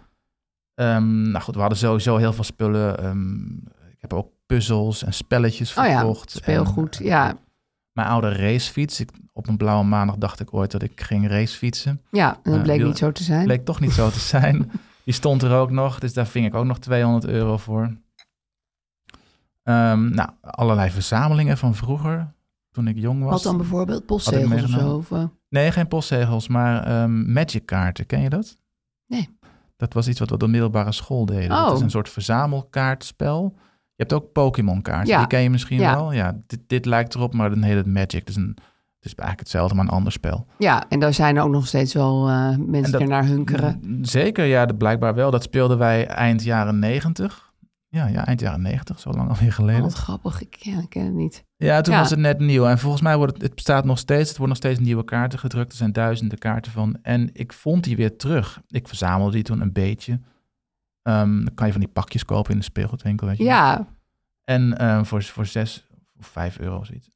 Speaker 7: Ehm, nou goed, we hadden sowieso heel veel spullen. Ehm, ik heb ook puzzels en spelletjes
Speaker 6: Oh ja,
Speaker 7: verkocht.
Speaker 6: speelgoed,
Speaker 7: En, eh,
Speaker 6: ja.
Speaker 7: Mijn oude racefiets. Ik, op een blauwe maandag dacht ik ooit dat ik ging racefietsen.
Speaker 6: Ja, en dat
Speaker 7: Eh,
Speaker 6: bleek
Speaker 7: wiel-
Speaker 6: niet zo te zijn.
Speaker 7: Bleek toch niet zo te zijn. Die stond er ook nog, dus daar ving ik ook nog 200 euro voor. Ehm, nou, allerlei verzamelingen van vroeger, toen ik jong was.
Speaker 6: Wat dan bijvoorbeeld?
Speaker 7: Had ik
Speaker 6: Postzegels of
Speaker 7: meegenomen.
Speaker 6: zo? Of, eh?
Speaker 7: Nee, geen postzegels, maar ehm magic kaarten. Ken je dat?
Speaker 6: Nee.
Speaker 7: Dat was iets wat we op de middelbare school deden.
Speaker 6: Oh.
Speaker 7: Dat is een soort verzamelkaartspel. Je hebt ook Pokémon kaarten,
Speaker 6: Ja.
Speaker 7: die ken je misschien
Speaker 6: Ja.
Speaker 7: wel. Ja, dit, dit lijkt erop, maar dan heet het magic. Dus een, het is eigenlijk hetzelfde, maar een ander spel.
Speaker 6: Ja, en daar zijn ook nog steeds wel eh, mensen
Speaker 7: dat-
Speaker 6: die ernaar hunkeren.
Speaker 7: Zeker, ja, dat blijkbaar wel. Dat speelden wij eind jaren negentig. Ja, ja, eind jaren negentig, zo lang alweer
Speaker 6: Oh,
Speaker 7: geleden.
Speaker 6: wat grappig, ik ja, ik ken het niet.
Speaker 7: Ja, toen
Speaker 6: Ja.
Speaker 7: was het net nieuw. En volgens mij wordt het, het bestaat nog steeds. Het worden nog steeds nieuwe kaarten gedrukt. Er zijn duizenden kaarten van. En ik vond die weer terug. Ik verzamelde die toen een beetje. Ehm, dan kan je van die pakjes kopen in de speelgoedwinkel, weet je. wel.
Speaker 6: Ja,
Speaker 7: En ehm, voor, voor zes of vijf euro of zoiets.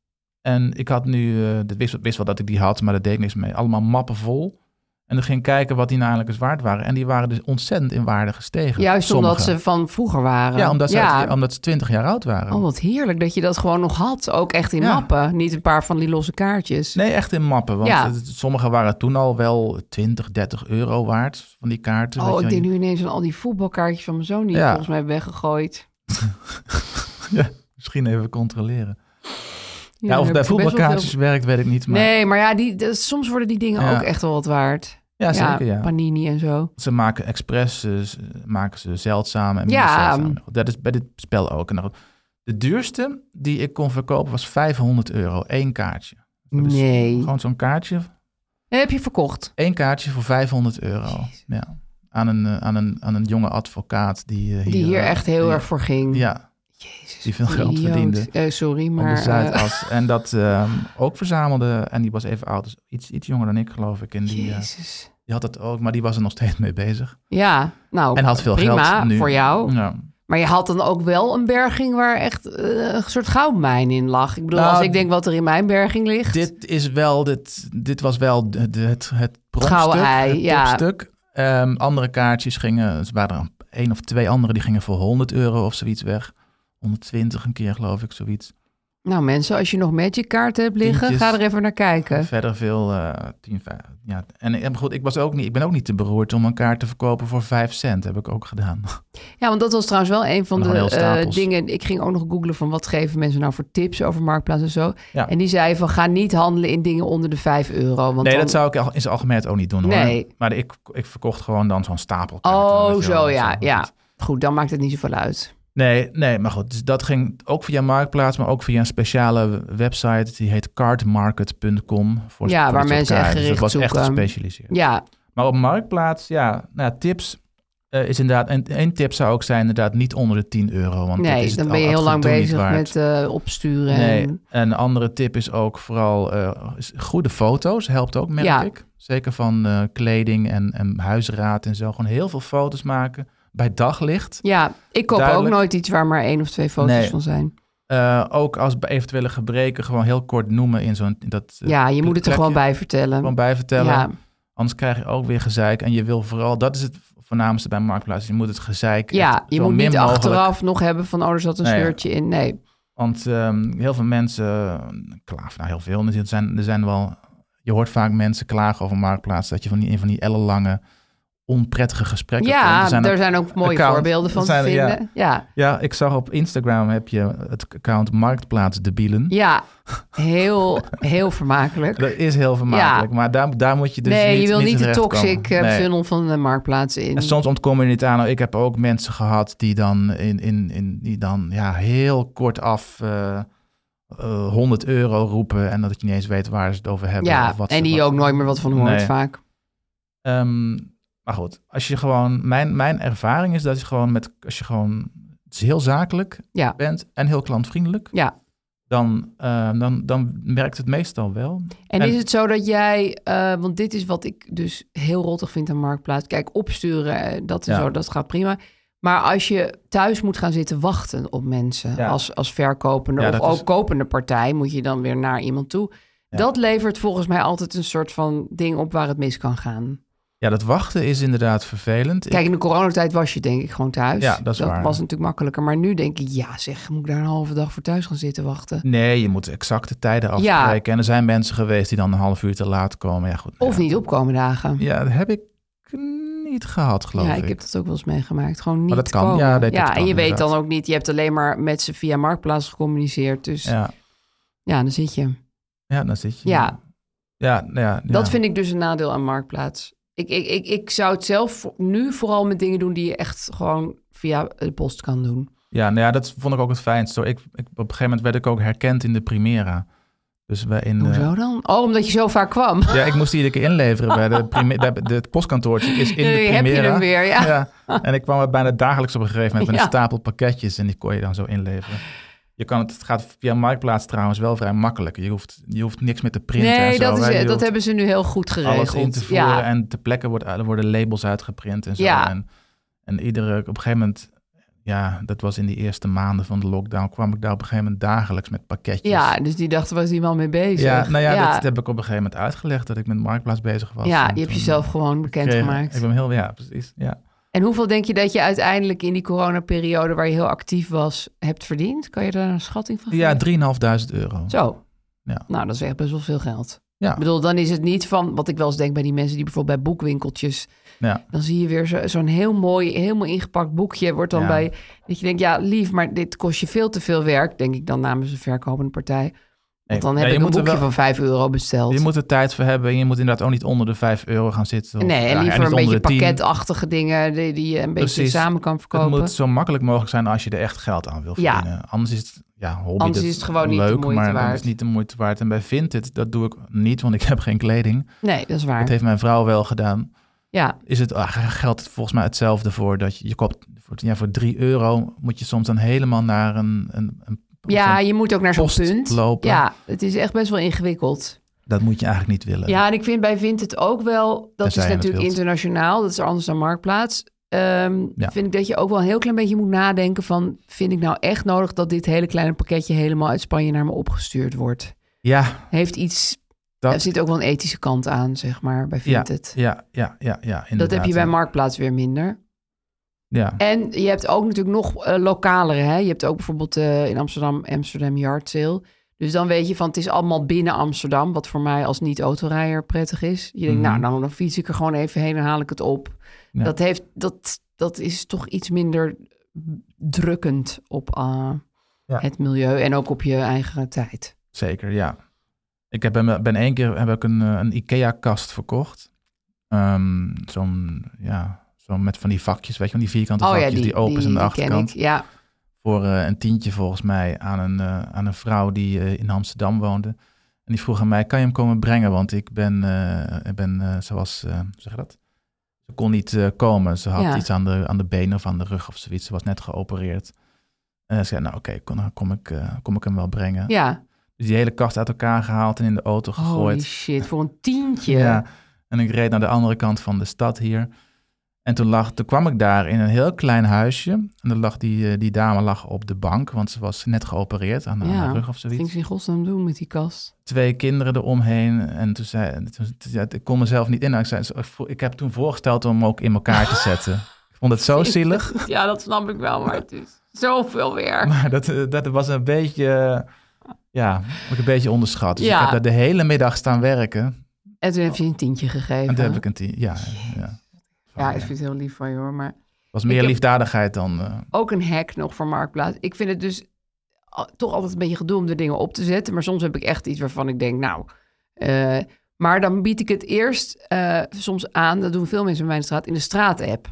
Speaker 7: En ik had nu, eh dit wist, wist wel dat ik die had, maar daar deed ik niks mee. Allemaal mappen vol. En dan ging ik kijken wat die nou eigenlijk eens waard waren. En die waren dus ontzettend in waarde gestegen.
Speaker 6: juist omdat
Speaker 7: Sommige.
Speaker 6: ze van vroeger waren.
Speaker 7: Ja, omdat ze,
Speaker 6: Ja.
Speaker 7: uit- omdat ze 20 jaar oud waren.
Speaker 6: Oh, wat heerlijk dat je dat gewoon nog had. Ook echt in
Speaker 7: Ja.
Speaker 6: mappen, niet een paar van die losse kaartjes.
Speaker 7: Nee, echt in mappen. Want
Speaker 6: Ja.
Speaker 7: het- sommige waren toen al wel 20, 30 euro waard van die kaarten.
Speaker 6: Oh,
Speaker 7: weet
Speaker 6: ik
Speaker 7: je
Speaker 6: denk
Speaker 7: wel.
Speaker 6: nu ineens aan al die voetbalkaartjes van mijn zoon die ik
Speaker 7: Ja.
Speaker 6: volgens mij heb weggegooid.
Speaker 7: Ja, misschien even controleren. Ja,
Speaker 6: daar
Speaker 7: of het
Speaker 6: heb
Speaker 7: bij
Speaker 6: ik best wel
Speaker 7: voetbalkaartjes
Speaker 6: veel-
Speaker 7: werkt, weet ik niet. Maar
Speaker 6: Nee, maar ja, die, de- soms worden die dingen
Speaker 7: Ja.
Speaker 6: ook echt wel wat waard.
Speaker 7: Ja, zeker, ja.
Speaker 6: Panini en zo.
Speaker 7: ze maken expres, eh, ze- maken ze zeldzaam en minder
Speaker 6: Ja. ehm,
Speaker 7: zeldzaam. Dat is bij dit spel ook. En dan- de duurste die ik kon verkopen was 500 euro, één kaartje. Dus
Speaker 6: Nee.
Speaker 7: Gewoon zo'n kaartje,
Speaker 6: En heb je verkocht?
Speaker 7: één kaartje voor 500 euro. Ja. Aan, een, eh, aan, een, aan een jonge advocaat die eh, hier...
Speaker 6: Die hier
Speaker 7: eh,
Speaker 6: echt heel
Speaker 7: die-
Speaker 6: erg voor ging.
Speaker 7: Ja. die veel
Speaker 6: wat een
Speaker 7: geld
Speaker 6: idioot.
Speaker 7: verdiende.
Speaker 6: Eh, sorry,
Speaker 7: Op
Speaker 6: maar,
Speaker 7: de
Speaker 6: eh,
Speaker 7: Zuidas. En dat ehm, ook verzamelde. En die was even oud. Dus iets, iets jonger dan ik, geloof ik. En die, eh,
Speaker 6: Jezus.
Speaker 7: die had dat ook, maar die was er nog steeds mee bezig.
Speaker 6: Ja, nou,
Speaker 7: en had veel
Speaker 6: prima
Speaker 7: geld nu. Mm.
Speaker 6: voor jou.
Speaker 7: Ja.
Speaker 6: Maar je had dan ook wel een berging waar echt eh, een soort goudmijn in lag. Ik bedoel,
Speaker 7: Nou,
Speaker 6: als ik denk wat er in mijn berging ligt.
Speaker 7: Dit, is wel, dit, dit was wel de, de- het, het pronkstuk.
Speaker 6: Gouden ei,
Speaker 7: het
Speaker 6: ja.
Speaker 7: topstuk. Ehm, andere kaartjes gingen, er waren er één of twee andere, die gingen voor 100 euro of zoiets weg. 120 een keer, geloof ik, zoiets.
Speaker 6: Nou mensen, als je nog magic kaarten hebt liggen,
Speaker 7: Tientjes.
Speaker 6: ga er even naar kijken.
Speaker 7: Verder veel, eh, 10, 5, ja. En, en goed, ik, was ook niet, ik ben ook niet te beroerd om een kaart te verkopen voor 5 cent. Heb ik ook gedaan.
Speaker 6: Ja, want dat was trouwens wel een van
Speaker 7: Nog
Speaker 6: de
Speaker 7: heel
Speaker 6: eh,
Speaker 7: stapels.
Speaker 6: dingen. Ik ging ook nog googlen van wat geven mensen nou voor tips over marktplaats en zo.
Speaker 7: Ja.
Speaker 6: En die zei van ga niet handelen in dingen onder de 5 euro. Want
Speaker 7: nee,
Speaker 6: dan-
Speaker 7: dat zou ik al- in zijn algemeenheid ook niet doen.
Speaker 6: Nee.
Speaker 7: Hoor. Maar ik, ik verkocht gewoon dan zo'n stapel.
Speaker 6: Oh, zo
Speaker 7: wel,
Speaker 6: ja,
Speaker 7: zo.
Speaker 6: ja. Goed, dan maakt het niet zoveel uit.
Speaker 7: Nee, nee, maar goed. Dus dat ging ook via Marktplaats, maar ook via een speciale website. Die heet cardmarket.com. Voor,
Speaker 6: ja,
Speaker 7: voor
Speaker 6: waar
Speaker 7: dit soort
Speaker 6: mensen echt
Speaker 7: kaarten. Dus
Speaker 6: gericht
Speaker 7: dat was
Speaker 6: zoeken.
Speaker 7: echt gespecialiseerd.
Speaker 6: Ja,
Speaker 7: Maar op Marktplaats, ja, nou, ja, tips eh, is inderdaad... En één tip zou ook zijn inderdaad niet onder de 10 euro. Want dat
Speaker 6: nee,
Speaker 7: is het
Speaker 6: dan
Speaker 7: al-
Speaker 6: ben je
Speaker 7: het
Speaker 6: heel lang
Speaker 7: gedoe niet
Speaker 6: bezig
Speaker 7: waard.
Speaker 6: met eh, opsturen.
Speaker 7: Nee,
Speaker 6: en-
Speaker 7: een andere tip is ook vooral eh, is- goede foto's. Helpt ook, merk
Speaker 6: Ja.
Speaker 7: ik. Zeker van eh, kleding en, en huisraad en zo. Gewoon heel veel foto's maken bij daglicht.
Speaker 6: Ja, ik koop
Speaker 7: Duidelijk.
Speaker 6: ook nooit iets waar maar één of twee foto's
Speaker 7: Nee.
Speaker 6: van zijn.
Speaker 7: Eh, ook als bij eventuele gebreken gewoon heel kort noemen in zo'n... in dat, eh,
Speaker 6: Ja, je moet het er
Speaker 7: plekje.
Speaker 6: gewoon bij vertellen.
Speaker 7: Gewoon bij vertellen.
Speaker 6: Ja.
Speaker 7: Anders krijg je ook weer gezeik. En je wil vooral... Dat is het voornaamste bij Marktplaats. Je moet het gezeik echt
Speaker 6: Ja, je
Speaker 7: zo
Speaker 6: moet
Speaker 7: min
Speaker 6: niet
Speaker 7: mogelijk-
Speaker 6: achteraf nog hebben van oh, er zat een
Speaker 7: Nee.
Speaker 6: scheurtje in. Nee.
Speaker 7: Want ehm, heel veel mensen klagen, nou heel veel, er zijn, er zijn wel, je hoort vaak mensen klagen over Marktplaats, dat je van die, in van die ellenlange, onprettige gesprekken komt.
Speaker 6: ja,
Speaker 7: Er
Speaker 6: daar zijn ook mooie
Speaker 7: account-
Speaker 6: voorbeelden van
Speaker 7: er zijn-
Speaker 6: te
Speaker 7: ja.
Speaker 6: vinden. Ja.
Speaker 7: Ja, ik zag op Instagram heb je het account Marktplaats Debielen.
Speaker 6: Ja, heel, heel vermakelijk.
Speaker 7: Dat is heel vermakelijk, maar daar, daar moet je dus
Speaker 6: nee,
Speaker 7: niet
Speaker 6: je wil niet de
Speaker 7: terechtkomen.
Speaker 6: toxic eh,
Speaker 7: Nee.
Speaker 6: funnel van de marktplaats in.
Speaker 7: En soms ontkom je niet aan. Nou, ik heb ook mensen gehad die dan, in, in, in, die dan ja, heel kort af eh, eh, 100 euro roepen en dat je niet eens weet waar ze het over hebben.
Speaker 6: ja,
Speaker 7: of wat
Speaker 6: en
Speaker 7: ze-
Speaker 6: die
Speaker 7: wat-
Speaker 6: ook nooit meer wat van hoort
Speaker 7: Nee.
Speaker 6: vaak.
Speaker 7: Ehm, maar goed, als je gewoon, mijn, mijn ervaring is dat je gewoon met, als je gewoon het is heel zakelijk
Speaker 6: Ja.
Speaker 7: bent en heel klantvriendelijk,
Speaker 6: Ja.
Speaker 7: dan, eh, dan, dan werkt het meestal wel.
Speaker 6: En,
Speaker 7: En-
Speaker 6: is het zo dat jij, eh, want dit is wat ik dus heel rottig vind aan Marktplaats. Kijk, opsturen, eh, dat, en
Speaker 7: Ja.
Speaker 6: zo, dat gaat prima. Maar als je thuis moet gaan zitten wachten op mensen
Speaker 7: Ja.
Speaker 6: als, als verkopende
Speaker 7: Ja,
Speaker 6: of
Speaker 7: dat
Speaker 6: ook
Speaker 7: is-
Speaker 6: kopende partij, moet je dan weer naar iemand toe. Dat levert volgens mij altijd een soort van ding op waar het mis kan gaan.
Speaker 7: Ja, dat wachten is inderdaad vervelend. Ik-
Speaker 6: Kijk, in de coronatijd was je denk ik gewoon thuis.
Speaker 7: Ja, dat is waar.
Speaker 6: was natuurlijk makkelijker. Maar nu denk ik, ja zeg, moet ik daar een halve dag voor thuis gaan zitten wachten?
Speaker 7: Nee, je moet exacte tijden
Speaker 6: Ja.
Speaker 7: afspreken. En er zijn mensen geweest die dan een half uur te laat komen. Ja, goed.
Speaker 6: Of niet opkomen dagen.
Speaker 7: Ja, dat heb ik niet gehad, geloof
Speaker 6: ja,
Speaker 7: ik.
Speaker 6: ik heb dat ook wel eens meegemaakt. Gewoon niet
Speaker 7: dat kan.
Speaker 6: komen.
Speaker 7: Ja, dat- dat
Speaker 6: en
Speaker 7: kan
Speaker 6: je weet
Speaker 7: inderdaad.
Speaker 6: dan ook niet. Je hebt alleen maar met ze via Marktplaats gecommuniceerd. Dus
Speaker 7: Ja.
Speaker 6: ja, dan zit je.
Speaker 7: Ja, dan zit je.
Speaker 6: Ja,
Speaker 7: Ja, nou ja, ja.
Speaker 6: dat vind ik dus een nadeel aan Marktplaats. Ik, ik, ik, ik zou het zelf voor- nu vooral met dingen doen die je echt gewoon via de post kan doen.
Speaker 7: Ja, nou ja, dat vond ik ook het fijnst. hoor. Ik, ik, op een gegeven moment werd ik ook herkend in de Primera. Dus wij in, eh,
Speaker 6: Hoezo dan? Oh, omdat je zo vaak kwam.
Speaker 7: Ja, ik moest die iedere keer inleveren bij de prime, bij de, het postkantoortje is in de
Speaker 6: Heb je
Speaker 7: Primera.
Speaker 6: hem weer, ja.
Speaker 7: En ik kwam er bijna dagelijks op een gegeven moment met
Speaker 6: Ja.
Speaker 7: een stapel pakketjes en die kon je dan zo inleveren. Je kan het, het gaat via Marktplaats trouwens wel vrij makkelijk. Je hoeft, je hoeft niks meer te printen en
Speaker 6: nee,
Speaker 7: zo.
Speaker 6: dat,
Speaker 7: hè. Je
Speaker 6: is, dat
Speaker 7: hoeft
Speaker 6: hebben ze nu heel goed geregeld.
Speaker 7: Alles in te voeren
Speaker 6: ja.
Speaker 7: en ter plekke wordt- er worden labels uitgeprint en zo.
Speaker 6: Ja.
Speaker 7: En, en iedere, op een gegeven moment, ja, dat was in die eerste maanden van de lockdown, kwam ik daar op een gegeven moment dagelijks met pakketjes.
Speaker 6: ja, dus die dachten, was die man mee bezig?
Speaker 7: Ja, nou ja, dat heb ik op een gegeven moment uitgelegd dat ik met Marktplaats bezig was.
Speaker 6: Ja,
Speaker 7: En
Speaker 6: je hebt
Speaker 7: toen
Speaker 6: jezelf gewoon
Speaker 7: kreeg-
Speaker 6: bekendgemaakt.
Speaker 7: Ik ben heel, ja, precies. Ja.
Speaker 6: En hoeveel denk je dat je uiteindelijk in die coronaperiode waar je heel actief was, hebt verdiend? Kan je daar een schatting van
Speaker 7: Ja,
Speaker 6: geven?
Speaker 7: 3.500 euro.
Speaker 6: Zo.
Speaker 7: Ja.
Speaker 6: Nou, dat is echt best wel veel geld.
Speaker 7: Ja.
Speaker 6: Ik bedoel, dan is het niet van, wat ik wel eens denk bij die mensen die bijvoorbeeld bij boekwinkeltjes,
Speaker 7: Ja.
Speaker 6: dan zie je weer zo- zo'n heel mooi, helemaal ingepakt boekje, wordt dan
Speaker 7: Ja.
Speaker 6: bij, dat je denkt, ja lief, maar dit kost je veel te veel werk, denk ik dan namens een verkopende partij. Want dan
Speaker 7: Nee,
Speaker 6: heb
Speaker 7: ja,
Speaker 6: ik
Speaker 7: je
Speaker 6: een
Speaker 7: moet er
Speaker 6: boekje
Speaker 7: wel-
Speaker 6: van 5 euro besteld.
Speaker 7: Je moet er tijd voor hebben en je moet inderdaad ook niet onder de 5 euro gaan zitten. of-
Speaker 6: nee,
Speaker 7: ja,
Speaker 6: en liever
Speaker 7: niet
Speaker 6: een
Speaker 7: onder
Speaker 6: beetje
Speaker 7: de 10.
Speaker 6: pakketachtige dingen die, die je een beetje
Speaker 7: Precies.
Speaker 6: samen kan verkopen.
Speaker 7: Het moet zo makkelijk mogelijk zijn als je er echt geld aan wil
Speaker 6: Ja.
Speaker 7: verdienen. Anders is het ja, hobby.
Speaker 6: Anders
Speaker 7: dat
Speaker 6: is het gewoon niet de
Speaker 7: leuk,
Speaker 6: moeite
Speaker 7: maar dat
Speaker 6: waard.
Speaker 7: is niet de moeite waard. En bij Vinted, dat doe ik niet, want ik heb geen kleding.
Speaker 6: Nee, dat is waar.
Speaker 7: Dat heeft mijn vrouw wel gedaan.
Speaker 6: Ja.
Speaker 7: Is het, ah, geldt volgens mij hetzelfde voor dat je, je koopt voor, ja, voor 3 euro moet je soms dan helemaal naar een, een, een
Speaker 6: Ja, je moet ook naar zo'n
Speaker 7: post
Speaker 6: punt.
Speaker 7: lopen.
Speaker 6: Ja, het is echt best wel ingewikkeld.
Speaker 7: Dat moet je eigenlijk niet willen.
Speaker 6: Ja, en ik vind bij Vindt het ook wel, dat
Speaker 7: Tenzij
Speaker 6: is
Speaker 7: je het
Speaker 6: natuurlijk
Speaker 7: wilt.
Speaker 6: internationaal, dat is anders dan Marktplaats. Ehm,
Speaker 7: Ja.
Speaker 6: Vind ik dat je ook wel een heel klein beetje moet nadenken van, vind ik nou echt nodig dat dit hele kleine pakketje helemaal uit Spanje naar me opgestuurd wordt?
Speaker 7: Ja,
Speaker 6: Heeft iets,
Speaker 7: Dat-
Speaker 6: er zit ook wel een ethische kant aan, zeg maar, bij
Speaker 7: ja,
Speaker 6: Vindt het.
Speaker 7: ja, ja, ja, ja,
Speaker 6: dat heb
Speaker 7: inderdaad,
Speaker 6: je bij
Speaker 7: ja.
Speaker 6: Marktplaats weer minder.
Speaker 7: Ja.
Speaker 6: En je hebt ook natuurlijk nog eh, lokalere. Hè? Je hebt ook bijvoorbeeld eh, in Amsterdam Amsterdam Yard Sale. Dus dan weet je van het is allemaal binnen Amsterdam. Wat voor mij als niet-autorijder prettig is. Je denkt,
Speaker 8: Mhm.
Speaker 6: nou dan, dan fiets ik er gewoon even heen en haal ik het op.
Speaker 8: Ja.
Speaker 6: Dat, heeft, dat, dat is toch iets minder drukkend op eh,
Speaker 7: Ja.
Speaker 6: het milieu en ook op je eigen tijd.
Speaker 7: Zeker, ja. Ik heb, ben, ben één keer heb ik een, eh, een IKEA-kast verkocht. Ehm, zo'n, ja, zo'n met van die vakjes, weet je, van die vierkante
Speaker 6: Oh ja,
Speaker 7: vakjes die,
Speaker 6: die-
Speaker 7: open
Speaker 6: die-
Speaker 7: zijn aan de
Speaker 6: die ken
Speaker 7: achterkant.
Speaker 6: ik, ja.
Speaker 7: Voor eh, een tientje volgens mij aan een, eh, aan een vrouw die eh, in Amsterdam woonde. En die vroeg aan mij, kan je hem komen brengen? Want ik ben, eh, ik ben eh, zoals, eh, hoe zeg je dat? Ze kon niet eh, komen. Ze had
Speaker 9: Ja.
Speaker 7: iets aan de, aan de benen of aan de rug of zoiets. Ze was net geopereerd. En ze zei, nou oké, kon- dan kom, ik, eh, kom ik hem wel brengen.
Speaker 6: Ja.
Speaker 7: Dus die hele kast uit elkaar gehaald en in de auto gegooid.
Speaker 6: Holy shit, voor een tientje.
Speaker 7: Ja. En ik reed naar de andere kant van de stad hier. En toen, lag, toen kwam ik daar in een heel klein huisje. En dan lag die, eh, die dame lag op de bank, want ze was net geopereerd aan, aan haar rug of zoiets.
Speaker 6: Ging ze in godsnaam doen met die kast?
Speaker 7: Twee kinderen eromheen. En toen zei en toen, toen- ja, ik kon mezelf niet in. Nou, Ik, zei, ik vo- ik heb toen voorgesteld om hem ook in elkaar te zetten. Ik vond het zo zielig.
Speaker 6: Ja, dat snap ik wel, maar het is zoveel weer.
Speaker 7: Maar dat, eh, dat was een beetje, eh, ja, heb ik een beetje onderschat. Dus
Speaker 6: Ja.
Speaker 7: ik heb daar de hele middag staan werken.
Speaker 6: En toen heb je een tientje gegeven.
Speaker 7: En toen heb ik een tien, ja. ja.
Speaker 6: Ja, ik vind het heel lief van je hoor, maar...
Speaker 7: was
Speaker 6: Ik
Speaker 7: meer
Speaker 6: heb-
Speaker 7: liefdadigheid dan... eh,
Speaker 6: Ook een hack nog voor Marktplaats. Ik vind het dus al- toch altijd een beetje gedoe om de dingen op te zetten. Maar soms heb ik echt iets waarvan ik denk, nou... eh, maar dan bied ik het eerst eh, soms aan, dat doen veel mensen bij mij in de straat, in de straat-app.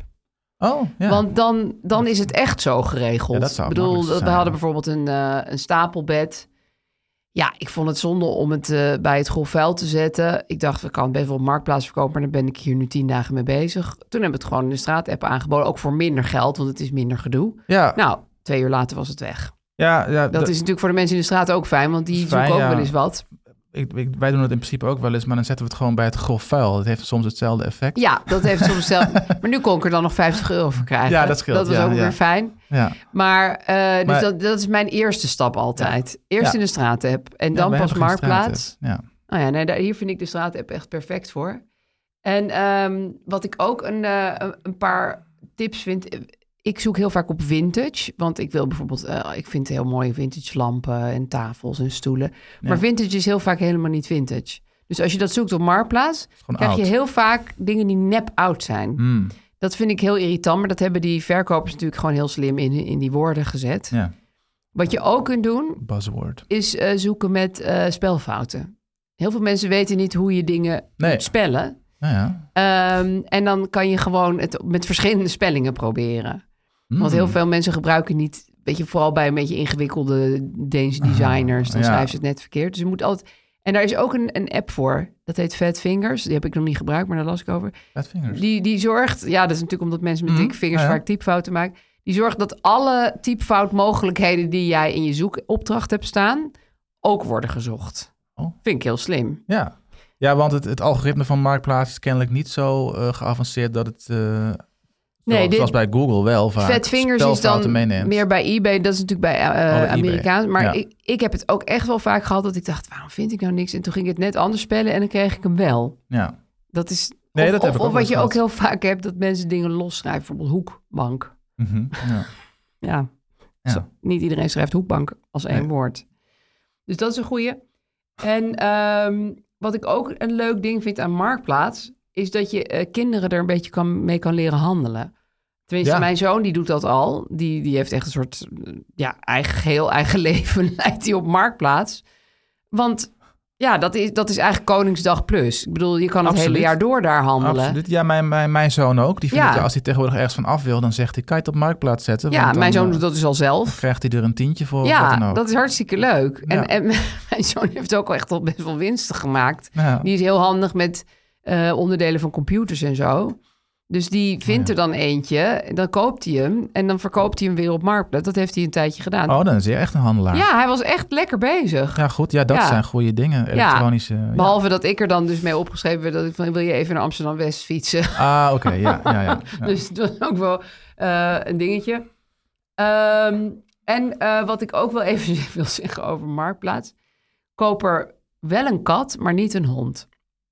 Speaker 7: Oh, ja.
Speaker 6: Want dan, dan is het echt zo geregeld.
Speaker 7: Ja, dat zou
Speaker 6: ik bedoel,
Speaker 7: makkelijk
Speaker 6: dat- we
Speaker 7: zijn,
Speaker 6: hadden bijvoorbeeld een, eh, een stapelbed. Ja, ik vond het zonde om het eh, bij het grof vuil te zetten. Ik dacht, we kan het best wel op marktplaats verkopen, maar dan ben ik hier nu tien dagen mee bezig. Toen hebben we het gewoon in de straat-app aangeboden, ook voor minder geld, want het is minder gedoe.
Speaker 7: Ja.
Speaker 6: Nou, twee uur later was het weg.
Speaker 7: Ja, ja,
Speaker 6: Dat is natuurlijk voor de mensen in de straat ook fijn, want die
Speaker 7: fijn,
Speaker 6: zoeken ook
Speaker 7: ja.
Speaker 6: wel eens wat.
Speaker 7: ik, ik- wij doen het in principe ook wel eens, maar dan zetten we het gewoon bij het grof vuil. Het heeft soms hetzelfde effect.
Speaker 6: Ja, dat heeft soms zelf. Maar nu kon ik er dan nog 50 euro voor krijgen.
Speaker 7: Ja, dat scheelt,
Speaker 6: Dat was
Speaker 7: ja,
Speaker 6: ook
Speaker 7: ja.
Speaker 6: weer fijn.
Speaker 7: Ja.
Speaker 6: Maar, eh, dus
Speaker 7: Maar-
Speaker 6: dat, dat is mijn eerste stap altijd. Eerst
Speaker 7: Ja.
Speaker 6: in de straatapp en
Speaker 7: Ja,
Speaker 6: dan
Speaker 7: wij
Speaker 6: pas
Speaker 7: hebben geen
Speaker 6: marktplaats.
Speaker 7: straatapp,
Speaker 6: Nou ja, nee, daar, hier vind ik de straatapp echt perfect voor. En ehm, wat ik ook een, eh, een- een paar tips vind. eh, Ik zoek heel vaak op vintage. Want ik wil bijvoorbeeld, eh, ik vind heel mooie vintage lampen en tafels en stoelen. Maar vintage is heel vaak helemaal niet vintage. Dus als je dat zoekt op Marktplaats,
Speaker 7: gewoon
Speaker 6: krijg je
Speaker 7: oud.
Speaker 6: heel vaak dingen die nep oud zijn.
Speaker 7: Hmm.
Speaker 6: Dat vind ik heel irritant, maar dat hebben die verkopers natuurlijk gewoon heel slim in, in die woorden gezet.
Speaker 7: Ja.
Speaker 6: Wat je ook kunt doen,
Speaker 7: Buzzword.
Speaker 6: is eh, zoeken met eh, spelfouten. Heel veel mensen weten niet hoe je dingen
Speaker 7: Nee.
Speaker 6: moet spellen.
Speaker 7: Nou ja.
Speaker 6: Ehm, en dan kan je gewoon het met verschillende spellingen proberen.
Speaker 7: Hmm.
Speaker 6: Want heel veel mensen gebruiken niet, weet je, vooral bij een beetje ingewikkelde Deense designers, dan
Speaker 7: Ah, ja.
Speaker 6: schrijven ze het net verkeerd. Dus je moet altijd. En daar is ook een, een app voor. Dat heet Fat Fingers. Die heb ik nog niet gebruikt, maar daar las ik over.
Speaker 7: Fat Fingers.
Speaker 6: Die, die zorgt, ja, dat is natuurlijk omdat mensen met
Speaker 7: Mhm,
Speaker 6: dikke vingers
Speaker 7: ja, ja.
Speaker 6: vaak typfouten maken. Die zorgt dat alle typfoutmogelijkheden die jij in je zoekopdracht hebt staan, ook worden gezocht.
Speaker 7: Oh.
Speaker 6: Vind ik heel slim.
Speaker 7: Ja. ja, want het, het algoritme van Marktplaats is kennelijk niet zo eh, geavanceerd dat het... eh
Speaker 6: Nee,
Speaker 7: zoals,
Speaker 6: dit-
Speaker 7: zoals bij Google wel vaak.
Speaker 6: Fat Fingers is
Speaker 7: spelfouten
Speaker 6: dan
Speaker 7: meeneemt.
Speaker 6: meer bij eBay. Dat is natuurlijk bij eh,
Speaker 7: eBay,
Speaker 6: Amerikaans. Maar
Speaker 7: ja.
Speaker 6: ik, ik heb het ook echt wel vaak gehad dat ik dacht, waarom vind ik nou niks? En toen ging ik het net anders spellen en dan kreeg ik hem wel.
Speaker 7: Ja.
Speaker 6: Dat is...
Speaker 7: Nee,
Speaker 6: of
Speaker 7: dat heb
Speaker 6: of,
Speaker 7: ik ook wel
Speaker 6: of wat
Speaker 7: eens
Speaker 6: je ook heel
Speaker 7: gehad.
Speaker 6: vaak hebt, dat mensen dingen losschrijven. Bijvoorbeeld hoekbank.
Speaker 7: Mhm, ja.
Speaker 6: Ja.
Speaker 7: Ja.
Speaker 6: Zo, niet iedereen schrijft hoekbank als één
Speaker 7: Nee.
Speaker 6: woord. Dus dat is een goeie. En ehm, wat ik ook een leuk ding vind aan Marktplaats... is dat je eh, kinderen er een beetje kan, mee kan leren handelen. Tenminste,
Speaker 8: Ja.
Speaker 6: mijn zoon die doet dat al. Die, die heeft echt een soort eh, ja, eigen, heel eigen leven leidt hij op Marktplaats. Want ja, dat is, dat is eigenlijk Koningsdag plus. Ik bedoel, je kan het
Speaker 7: Absoluut.
Speaker 6: hele jaar door daar handelen.
Speaker 7: Absoluut. Ja, mijn, mijn, mijn zoon ook. Die vindt
Speaker 6: Ja.
Speaker 7: dat als hij tegenwoordig ergens van af wil, dan zegt hij, kan je het op Marktplaats zetten?
Speaker 6: Ja,
Speaker 7: Want dan,
Speaker 6: mijn zoon
Speaker 7: eh,
Speaker 6: doet dat dus al zelf.
Speaker 7: dan krijgt hij er een tientje voor of wat dan
Speaker 6: Ja,
Speaker 7: ook.
Speaker 6: dat is hartstikke leuk.
Speaker 7: Ja.
Speaker 6: En, en mijn zoon heeft ook al echt al best wel winsten gemaakt.
Speaker 7: Ja.
Speaker 6: Die is heel handig met eh, onderdelen van computers en zo. Dus die vindt
Speaker 7: Oh,
Speaker 6: er dan eentje, en dan koopt hij hem en dan verkoopt hij hem weer op markt. Dat heeft hij een tijdje gedaan.
Speaker 7: Oh, dan is hij echt een handelaar.
Speaker 6: ja, hij was echt lekker bezig.
Speaker 7: Ja, goed. Ja, dat
Speaker 6: Ja.
Speaker 7: zijn goede dingen. Elektronische... ja.
Speaker 6: Behalve dat ik er dan dus mee opgeschreven werd dat ik van wil je even naar Amsterdam West fietsen.
Speaker 7: Ah, oké. ja, ja, ja. ja.
Speaker 6: Dus dat is ook wel eh, een dingetje. Ehm, en eh, wat ik ook wel even wil zeggen over Marktplaats. Koop er wel een kat, maar niet een hond.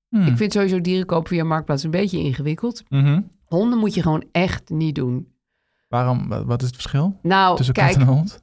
Speaker 7: Hmm.
Speaker 6: Ik vind sowieso dieren kopen via Marktplaats een beetje ingewikkeld.
Speaker 7: Mhm.
Speaker 6: Honden moet je gewoon echt niet doen.
Speaker 7: Waarom, wa- wat is het verschil
Speaker 6: Nou,
Speaker 7: tussen
Speaker 6: kijk,
Speaker 7: kat en hond?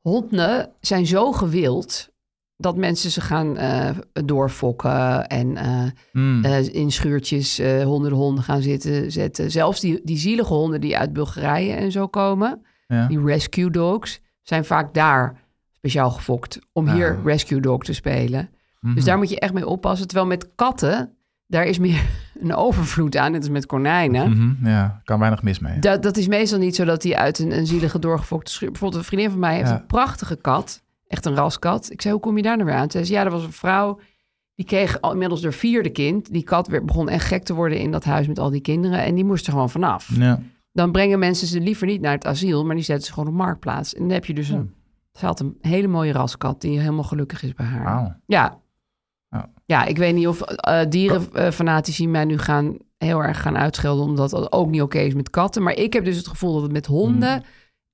Speaker 6: Honden zijn zo gewild dat mensen ze gaan eh, doorfokken en eh,
Speaker 7: Hmm.
Speaker 6: eh, in schuurtjes eh honderden honden gaan zitten, zetten. Zelfs die, die zielige honden die uit Bulgarije en zo komen,
Speaker 7: Ja.
Speaker 6: die rescue dogs, zijn vaak daar speciaal gefokt om
Speaker 7: Ah.
Speaker 6: hier rescue dog te spelen.
Speaker 7: Mhm.
Speaker 6: Dus daar moet je echt mee oppassen. Terwijl met katten, daar is meer een overvloed aan. Net als met konijnen.
Speaker 7: Mhm, Ja, kan weinig mis mee.
Speaker 6: Dat, dat is meestal niet zo dat hij uit een, een zielige doorgefokte schuur... Bijvoorbeeld een vriendin van mij heeft
Speaker 7: Ja.
Speaker 6: een prachtige kat. Echt een raskat. Ik zei, hoe kom je daar nou weer aan? Ze zei, ja, er was een vrouw... die kreeg al inmiddels haar vierde kind. Die kat werd, begon echt gek te worden in dat huis met al die kinderen. En die moest er gewoon vanaf.
Speaker 7: Ja.
Speaker 6: Dan brengen mensen ze liever niet naar het asiel... maar die zetten ze gewoon op marktplaats. En dan heb je dus een... Ze had een hele mooie raskat die helemaal gelukkig is bij haar.
Speaker 7: Wauw.
Speaker 6: Ja.
Speaker 7: Ja.
Speaker 6: Ja, ik weet niet of eh dierenfanatici mij nu gaan, heel erg gaan uitschelden... omdat dat ook niet oké is met katten. Maar ik heb dus het gevoel dat het met honden
Speaker 7: Hmm.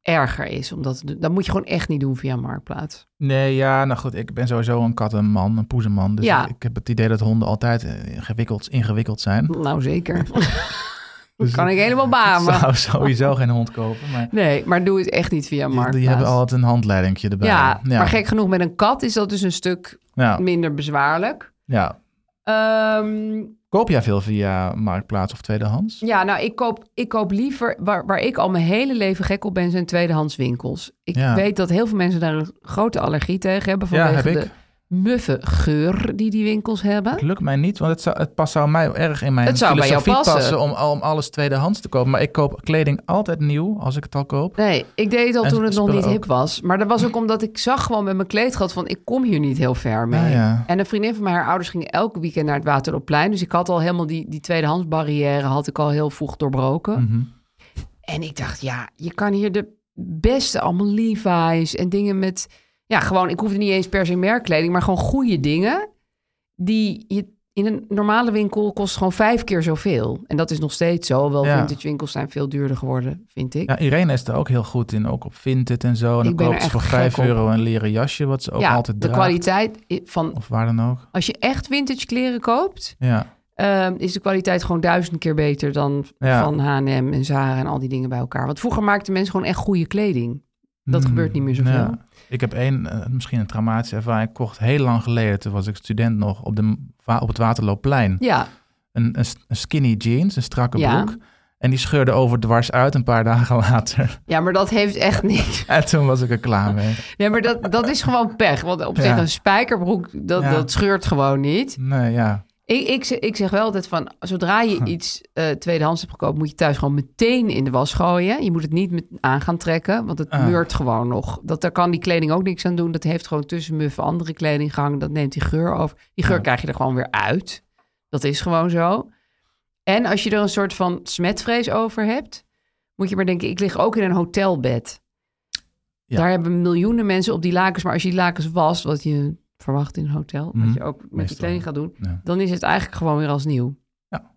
Speaker 6: erger is. Omdat, het- dat moet je gewoon echt niet doen via Marktplaats.
Speaker 7: Nee, ja, nou goed, ik ben sowieso een kattenman, een poezeman. Dus
Speaker 6: Ja.
Speaker 7: ik, ik heb het idee dat honden altijd eh, ingewikkeld, ingewikkeld zijn.
Speaker 6: Nou, zeker. kan ik helemaal bamen.
Speaker 7: Dus zou sowieso geen hond kopen, maar
Speaker 6: Nee, maar doe het echt niet via Marktplaats.
Speaker 7: die hebben altijd een handleidingje erbij.
Speaker 6: ja, maar gek genoeg met een kat is dat dus een stuk
Speaker 7: Ja.
Speaker 6: minder bezwaarlijk.
Speaker 7: Ja.
Speaker 6: Ehm,
Speaker 7: Koop jij veel via Marktplaats of tweedehands?
Speaker 6: Ja, nou, ik koop, ik koop liever... Waar, waar ik al mijn hele leven gek op ben, zijn tweedehands winkels. Ik
Speaker 7: Ja.
Speaker 6: weet dat heel veel mensen daar een grote allergie tegen hebben...
Speaker 7: Ja,
Speaker 6: vanwege
Speaker 7: heb ik.
Speaker 6: de muffe geur die die winkels hebben.
Speaker 7: Het lukt mij niet, want het, zou, het past zou mij erg in mijn
Speaker 6: Het zou bij jou
Speaker 7: filosofie
Speaker 6: passen.
Speaker 7: om, om alles tweedehands te kopen. Maar ik koop kleding altijd nieuw als ik het al koop.
Speaker 6: Nee, ik deed het al
Speaker 7: En
Speaker 6: toen het nog niet
Speaker 7: spullen
Speaker 6: hip
Speaker 7: ook.
Speaker 6: was. Maar dat was ook omdat ik zag gewoon met mijn kleedgat van... ik kom hier niet heel ver mee.
Speaker 7: Ja, Ah, ja.
Speaker 6: En een vriendin van mij, haar ouders gingen elke weekend naar het Waterloopplein. Dus ik had al helemaal die, die tweedehands barrière... had ik al heel vroeg doorbroken.
Speaker 7: Mhm.
Speaker 6: En ik dacht, ja, je kan hier de beste allemaal Levi's en dingen met... Ja, gewoon, ik hoefde niet eens per se merkkleding, maar gewoon goede dingen. die je in een normale winkel kost gewoon vijf keer zoveel. En dat is nog steeds zo. Wel,
Speaker 7: Ja.
Speaker 6: vintage winkels zijn veel duurder geworden, vind ik.
Speaker 7: Ja, Irene is er ook heel goed in, ook op Vinted en zo. En dan
Speaker 6: Ik ben er
Speaker 7: koopt ze
Speaker 6: echt
Speaker 7: voor 5
Speaker 6: gek op.
Speaker 7: euro een leren jasje, wat ze ook
Speaker 6: Ja,
Speaker 7: altijd
Speaker 6: de
Speaker 7: draagt.
Speaker 6: kwaliteit i- van...
Speaker 7: Of waar dan ook.
Speaker 6: Als je echt vintage kleren koopt,
Speaker 7: Ja,
Speaker 6: ehm, is de kwaliteit gewoon duizend keer beter dan
Speaker 7: Ja.
Speaker 6: van H&M en Zara en al die dingen bij elkaar. Want vroeger maakten mensen gewoon echt goede kleding. Dat
Speaker 7: Hmm,
Speaker 6: gebeurt niet meer zoveel.
Speaker 7: ja. Ik heb één, eh, misschien een traumatische ervaring. Ik kocht heel lang geleden, toen was ik student nog, op, de, wa- op het Waterloopplein.
Speaker 6: Ja.
Speaker 7: Een, een, s- een skinny jeans, een strakke
Speaker 6: Ja.
Speaker 7: broek. En die scheurde over dwars uit een paar dagen later.
Speaker 6: Ja, maar dat heeft echt niks.
Speaker 7: En toen was ik er klaar mee.
Speaker 6: Nee, maar dat, dat is gewoon pech. Want op
Speaker 7: Ja.
Speaker 6: zich, een spijkerbroek, dat,
Speaker 7: Ja.
Speaker 6: dat scheurt gewoon niet.
Speaker 7: Nee, ja.
Speaker 6: Ik, ik, ze- ik zeg wel altijd van, zodra je iets eh, tweedehands hebt gekocht, moet je thuis gewoon meteen in de was gooien. Je moet het niet met, aan gaan trekken, want het
Speaker 7: Ah.
Speaker 6: meurt gewoon nog. Dat, daar kan die kleding ook niks aan doen. Dat heeft gewoon tussen muffen andere kleding gehangen. Dat neemt die geur over. Die geur
Speaker 7: Ja.
Speaker 6: krijg je er gewoon weer uit. Dat is gewoon zo. En als je er een soort van smetvrees over hebt, moet je maar denken, ik lig ook in een hotelbed.
Speaker 7: Ja.
Speaker 6: Daar hebben miljoenen mensen op die lakens. Maar als je die lakens wast, wat je verwacht in een hotel,
Speaker 7: Mhm.
Speaker 6: wat je ook met
Speaker 7: Meestal.
Speaker 6: die kleding gaat doen,
Speaker 7: Ja.
Speaker 6: dan is het eigenlijk gewoon weer als nieuw.
Speaker 7: Ja.